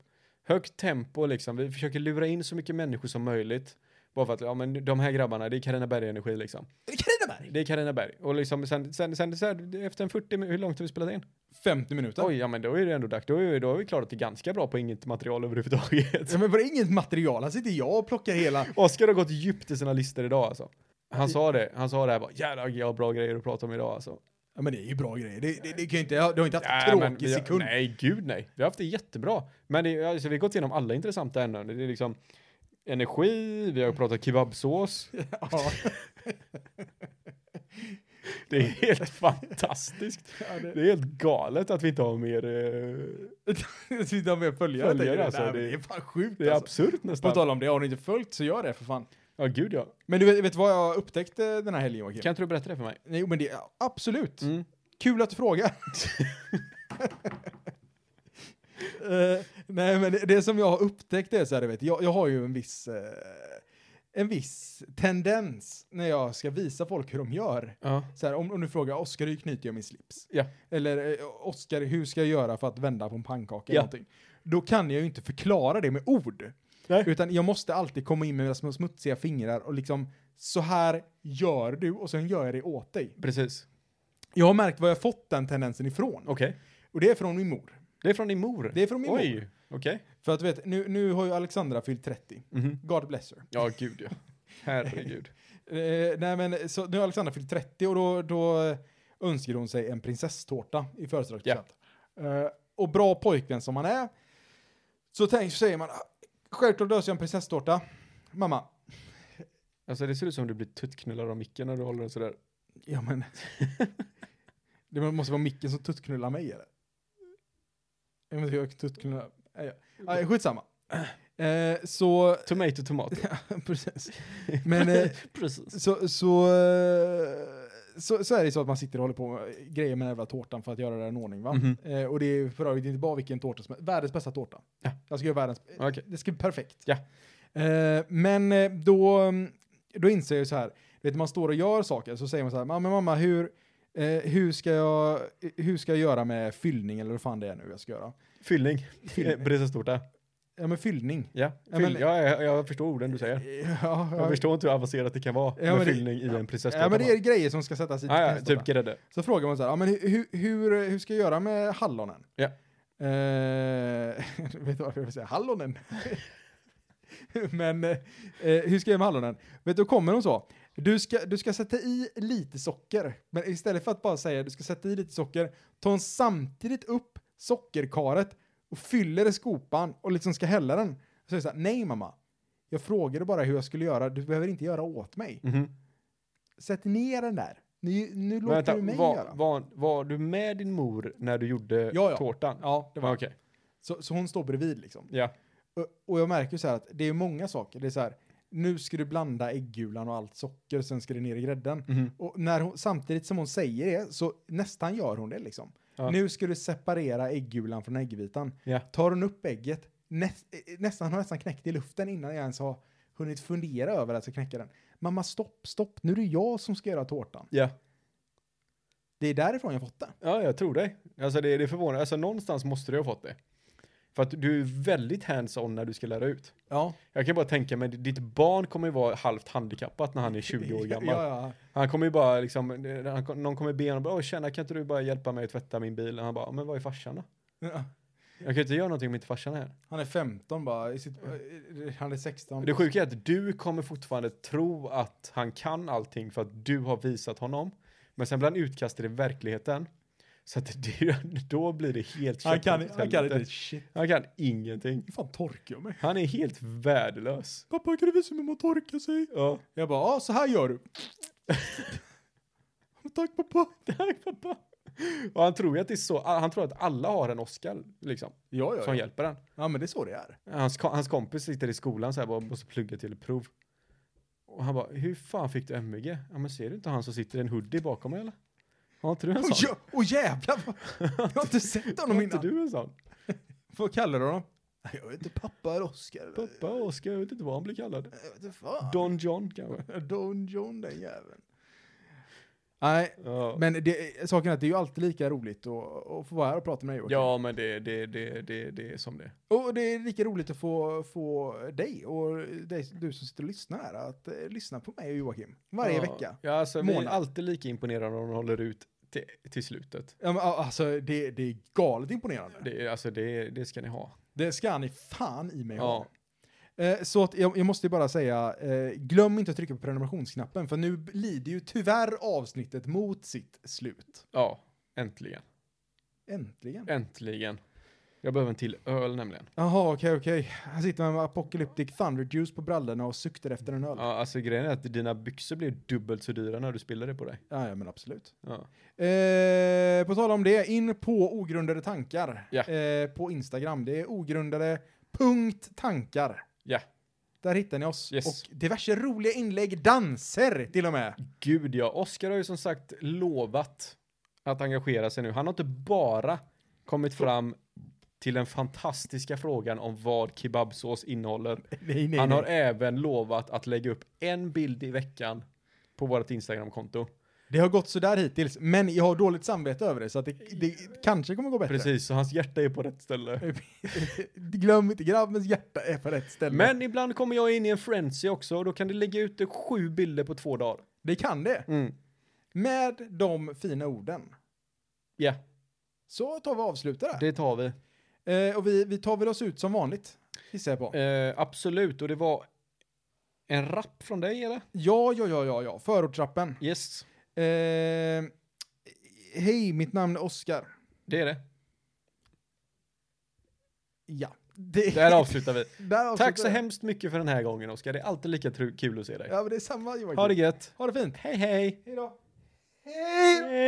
[SPEAKER 3] Högt tempo liksom. Vi försöker lura in så mycket människor som möjligt. Bara för att, ja men de här grabbarna, det är Carina Berg Energi liksom.
[SPEAKER 4] Krineberg!
[SPEAKER 3] Det är Carina Berg. Och liksom sen, sen, sen, sen efter en 40 min- hur långt har vi spelat in?
[SPEAKER 2] 50 minuter.
[SPEAKER 3] Oj, ja men då är det ändå dags. Då, är- då har vi klarat det ganska bra på inget material överhuvudtaget.
[SPEAKER 2] Ja, men var det inget material? Här sitter jag och plockar hela...
[SPEAKER 3] Oskar har gått djupt i sina listor idag alltså. Han sa det, han sa det här bara, jävlar jag har bra grejer att prata om idag alltså.
[SPEAKER 2] Ja, men det är ju bra grejer. Det, det, det kan ju inte, jag- du har inte haft
[SPEAKER 3] Nej,
[SPEAKER 2] en
[SPEAKER 3] men
[SPEAKER 2] tråkig
[SPEAKER 3] vi har-
[SPEAKER 2] sekund.
[SPEAKER 3] Nej, gud nej. Vi har haft det jättebra. Men det, alltså, vi har gått igenom alla intressanta ämnen. Det är liksom energi, vi har pratat kebabsås.
[SPEAKER 2] Ja,
[SPEAKER 3] Det är helt fantastiskt. Det är helt galet att vi inte har mer... eh,
[SPEAKER 2] det sitter med följare.
[SPEAKER 3] Följare,
[SPEAKER 2] följare
[SPEAKER 3] alltså,
[SPEAKER 2] alltså,
[SPEAKER 3] det-
[SPEAKER 2] det är fan sjukt
[SPEAKER 3] Det är
[SPEAKER 2] alltså.
[SPEAKER 3] absurt
[SPEAKER 2] På
[SPEAKER 3] nästan.
[SPEAKER 2] tal om det, har ni inte följt så gör det för fan.
[SPEAKER 3] Ja, gud ja.
[SPEAKER 2] Men du vet, vet du vad jag upptäckte den här helgen Joakim?
[SPEAKER 3] Kan inte du berätta det för mig?
[SPEAKER 2] Jo men det, ja, absolut.
[SPEAKER 3] Mm.
[SPEAKER 2] Kul att du frågar. Eh, nej men det, det som jag har upptäckt är så här, du vet, jag, jag har ju en viss, eh, en viss tendens när jag ska visa folk hur de gör.
[SPEAKER 3] Ja.
[SPEAKER 2] Så här, om, om du frågar Oskar, hur knyter jag min slips?
[SPEAKER 3] Ja.
[SPEAKER 2] Eller eh, Oskar, hur ska jag göra för att vända på en pannkaka?
[SPEAKER 3] Ja.
[SPEAKER 2] Eller någonting? Då kan jag ju inte förklara det med ord.
[SPEAKER 3] Nej.
[SPEAKER 2] Utan jag måste alltid komma in med mina små smutsiga fingrar och liksom så här gör du och sen gör jag det åt dig.
[SPEAKER 3] Precis.
[SPEAKER 2] Jag har märkt var jag fått den tendensen ifrån.
[SPEAKER 3] Okej.
[SPEAKER 2] Och det är från min mor.
[SPEAKER 3] Det är från din mor?
[SPEAKER 2] Det är från min mor.
[SPEAKER 3] Oj. Okej.
[SPEAKER 2] För att du vet, nu, nu har ju Alexandra fyllt 30.
[SPEAKER 3] Mhm.
[SPEAKER 2] God bless her.
[SPEAKER 3] Ja, gud ja. Herregud.
[SPEAKER 2] Eh, nej men, så nu har Alexandra fyllt 30 och då, då eh, önskar hon sig en prinsesstårta i födelsedagspresent. Eh, och bra pojkvän som man är, så, tänk, så säger man, "Ah, självklart löser jag en prinsesstårta. Mamma,
[SPEAKER 3] Alltså det ser ut som du blir tuttknullad av micken när du håller den sådär.
[SPEAKER 2] ja men, det måste vara micken som tuttknullar mig eller? Jag vet inte, jag tuttknullar, nej, ja. Nej, skitsamma. Eh, så,
[SPEAKER 3] Tomato, tomato.
[SPEAKER 2] precis. Men, eh,
[SPEAKER 3] Precis.
[SPEAKER 2] Så, så, eh, så, så är det så att man sitter och håller på med grejer med den jävla tårtan för att göra den i ordning. Va?
[SPEAKER 3] Mhm.
[SPEAKER 2] Eh, och det är ju för övrigt inte bara vilken tårta som är. Världens bästa tårta.
[SPEAKER 3] Ja.
[SPEAKER 2] Jag ska göra världens... eh,
[SPEAKER 3] Okej.
[SPEAKER 2] Det ska bli perfekt.
[SPEAKER 3] Ja.
[SPEAKER 2] Eh, men eh, då, mm, då inser jag ju så här. Vet, du, man står och gör saker så säger man så här. Mamma, mamma, hur, eh, hur, ska jag, hur ska jag göra med fyllning eller vad fan det är nu jag ska göra?
[SPEAKER 3] Fyllning. Eh, Prinsesstårta.
[SPEAKER 2] Ja, men fyllning.
[SPEAKER 3] Ja.
[SPEAKER 2] Ja, men-
[SPEAKER 3] Fyll... Ja, jag, jag förstår orden du säger.
[SPEAKER 2] Ja,
[SPEAKER 3] Jag förstår inte hur avancerat det kan vara
[SPEAKER 2] men
[SPEAKER 3] med
[SPEAKER 2] det-
[SPEAKER 3] fyllning i en prinsesstårta.
[SPEAKER 2] ja, men det är grejer som ska sättas i.
[SPEAKER 3] Ja, ja,
[SPEAKER 2] nästa
[SPEAKER 3] typ grädde.
[SPEAKER 2] Så frågar man så här, ja, men hur, hur, hur ska jag göra med hallonen?
[SPEAKER 3] Ja.
[SPEAKER 2] Eh, vet du varför jag vill säga hallonen? men eh, eh, hur ska jag göra med hallonen? Vet du, då kommer de så. Du ska, du ska sätta i lite socker, men istället för att bara säga du ska sätta i lite socker, tar hon samtidigt upp sockerkaret och fyller i skopan och liksom ska hälla den. Så säger jag så här, nej mamma, jag frågade bara hur jag skulle göra, du behöver inte göra åt mig.
[SPEAKER 3] Mhm.
[SPEAKER 2] Sätt ner den där. Nu, nu låter
[SPEAKER 3] Vänta,
[SPEAKER 2] du mig
[SPEAKER 3] var,
[SPEAKER 2] göra.
[SPEAKER 3] var, var du med din mor när du gjorde
[SPEAKER 2] Ja, ja.
[SPEAKER 3] tårtan?
[SPEAKER 2] Ja, det var
[SPEAKER 3] Ah, Okej.
[SPEAKER 2] Så, så hon står bredvid liksom.
[SPEAKER 3] Ja.
[SPEAKER 2] Och, och jag märker ju så här att det är många saker. Det är så här, nu ska du blanda äggulan och allt socker, sen ska det ner i grädden.
[SPEAKER 3] Mhm.
[SPEAKER 2] Och när hon, samtidigt som hon säger det så nästan gör hon det liksom.
[SPEAKER 3] Ja.
[SPEAKER 2] Nu ska du separera äggulan från äggvitan.
[SPEAKER 3] Ja.
[SPEAKER 2] Tar hon upp ägget, näst, eh, nästan, har nästan knäckt i luften innan jag ens har hunnit fundera över att jag ska knäcka den. Mamma, stopp, stopp, nu är det jag som ska göra tårtan.
[SPEAKER 3] ja.
[SPEAKER 2] Det är därifrån jag fått det.
[SPEAKER 3] Ja, jag tror dig. Alltså det, det är förvånande. Alltså någonstans måste du ha fått det. För att du är väldigt hands-on när du ska lära ut.
[SPEAKER 2] Ja,
[SPEAKER 3] Jag kan bara tänka mig, ditt barn kommer ju vara halvt handikappat när han är 20 år gammal.
[SPEAKER 2] Ja, ja.
[SPEAKER 3] Han kommer ju bara liksom, han, någon kommer be honom, bara, "Åh, tjena kan inte du bara hjälpa mig att tvätta min bil? Och han bara, men vad är farsan då?
[SPEAKER 2] ja.
[SPEAKER 3] Jag kan ju inte göra någonting om inte farsan är här.
[SPEAKER 2] Han är 15 bara. I sitt, eh, han är 16.
[SPEAKER 3] Det sjuka är att du kommer fortfarande tro att han kan allting för att du har visat honom. Men sen blir han utkastad i verkligheten. Så att det, då blir det helt
[SPEAKER 2] han kan,
[SPEAKER 3] käpprätt åt
[SPEAKER 2] han kan
[SPEAKER 3] helvete.
[SPEAKER 2] inte. Shit.
[SPEAKER 3] Han kan ingenting.
[SPEAKER 2] Hur fan torkar jag mig?
[SPEAKER 3] Han är helt värdelös.
[SPEAKER 2] Pappa, kan du visa mig hur man torkar sig?
[SPEAKER 3] Ja.
[SPEAKER 2] Jag bara, ja, så här gör du. Tack pappa.
[SPEAKER 3] Tack pappa. Och han tror ju att det är så, han tror att alla har en Oscar liksom.
[SPEAKER 2] Ja, ja,
[SPEAKER 3] Som
[SPEAKER 2] ja.
[SPEAKER 3] hjälper han.
[SPEAKER 2] Ja, men det är så det är.
[SPEAKER 3] Hans, ko- hans kompis sitter i skolan så här bara måste plugga till ett prov. Och han bara, hur fan fick du MVG? Ja men ser du inte han som sitter i en hoodie bakom mig eller? Har inte du en
[SPEAKER 2] Åh
[SPEAKER 3] sån?
[SPEAKER 2] jä- åh, jävlar! vad- Jag har inte sett honom
[SPEAKER 3] Har inte
[SPEAKER 2] innan.
[SPEAKER 3] du en sån?
[SPEAKER 2] Vad kallar du honom?
[SPEAKER 4] Jag vet inte, pappa är Oscar.
[SPEAKER 3] Pappa Oscar, jag vet inte vad han blir kallad.
[SPEAKER 4] Jag vet inte fan.
[SPEAKER 3] Don John kanske?
[SPEAKER 4] Don John den jäveln.
[SPEAKER 2] Nej,
[SPEAKER 3] Ja,
[SPEAKER 2] men det, saken är att det är ju alltid lika roligt att, att få vara här och prata med dig. Joakim.
[SPEAKER 3] ja men det, det, det, det, det är som det är.
[SPEAKER 2] Och det är lika roligt att få, få dig och dig, du som sitter och lyssnar här att eh, lyssna på mig och Joakim varje
[SPEAKER 3] ja.
[SPEAKER 2] vecka.
[SPEAKER 3] Ja, alltså vi är
[SPEAKER 2] Månad.
[SPEAKER 3] alltid lika imponerade om de håller ut till, till slutet.
[SPEAKER 2] Ja, men, a- alltså det, det är galet imponerande.
[SPEAKER 3] Det, är- alltså det, det ska ni ha.
[SPEAKER 2] Det ska ni fan i mig
[SPEAKER 3] Ja.
[SPEAKER 2] ha. Eh, Så att jag, jag måste bara säga, eh, glöm inte att trycka på prenumerationsknappen för nu lider ju tyvärr avsnittet mot sitt slut.
[SPEAKER 3] Ja, äntligen.
[SPEAKER 2] Äntligen.
[SPEAKER 3] Äntligen. Jag behöver en till öl nämligen.
[SPEAKER 2] Jaha, okej, okej. Här sitter man med Apocalyptic Thunder Juice på brallorna och suktar efter en öl.
[SPEAKER 3] Ja, alltså grejen är att dina byxor blir dubbelt så dyra när du spiller det på dig.
[SPEAKER 2] Ja, ja men absolut.
[SPEAKER 3] Ja.
[SPEAKER 2] Eh, på tal om det, in på ogrundade tankar
[SPEAKER 3] Ja.
[SPEAKER 2] eh, på Instagram. Det är ogrundade punkt tankar.
[SPEAKER 3] Ja.
[SPEAKER 2] Där hittar ni oss.
[SPEAKER 3] Yes.
[SPEAKER 2] Och diverse roliga inlägg, danser till och med.
[SPEAKER 3] Gud ja, Oscar har ju som sagt lovat att engagera sig nu. Han har inte bara kommit fram till den fantastiska frågan om vad kebabsås innehåller.
[SPEAKER 2] Nej, nej,
[SPEAKER 3] Han har
[SPEAKER 2] nej.
[SPEAKER 3] även lovat att lägga upp en bild i veckan på vårt Instagram-konto.
[SPEAKER 2] Det har gått sådär hittills, men jag har dåligt samvete över det så att det, det kanske kommer gå bättre.
[SPEAKER 3] Precis, så hans hjärta är på rätt ställe.
[SPEAKER 2] Glöm inte, grabbens hjärta är på rätt ställe.
[SPEAKER 3] Men ibland kommer jag in i en frenzy också och då kan det lägga ut sju bilder på två dagar.
[SPEAKER 2] det kan det.
[SPEAKER 3] Mm.
[SPEAKER 2] Med de fina orden
[SPEAKER 3] Ja,
[SPEAKER 2] så tar vi och avslutar där.
[SPEAKER 3] det tar vi.
[SPEAKER 2] Eh, och vi, vi tar väl oss ut som vanligt, gissar jag på.
[SPEAKER 3] Eh, absolut, och det var en rapp från dig eller?
[SPEAKER 2] Ja, ja, ja, ja, ja. Förortstrappen.
[SPEAKER 3] Yes,
[SPEAKER 2] Eh, Hej, mitt namn är Oskar.
[SPEAKER 3] det är det.
[SPEAKER 2] Ja. Det,
[SPEAKER 3] Där avslutar vi.
[SPEAKER 2] där avslutar
[SPEAKER 3] Tack så
[SPEAKER 2] jag.
[SPEAKER 3] hemskt mycket för den här gången Oskar. Det är alltid lika tru- kul att se dig.
[SPEAKER 2] Ja, men det är samma Joakim.
[SPEAKER 3] Ha det gött.
[SPEAKER 2] ha det fint.
[SPEAKER 3] Hej hej.
[SPEAKER 2] Hej då.
[SPEAKER 4] Hej!
[SPEAKER 3] Hej.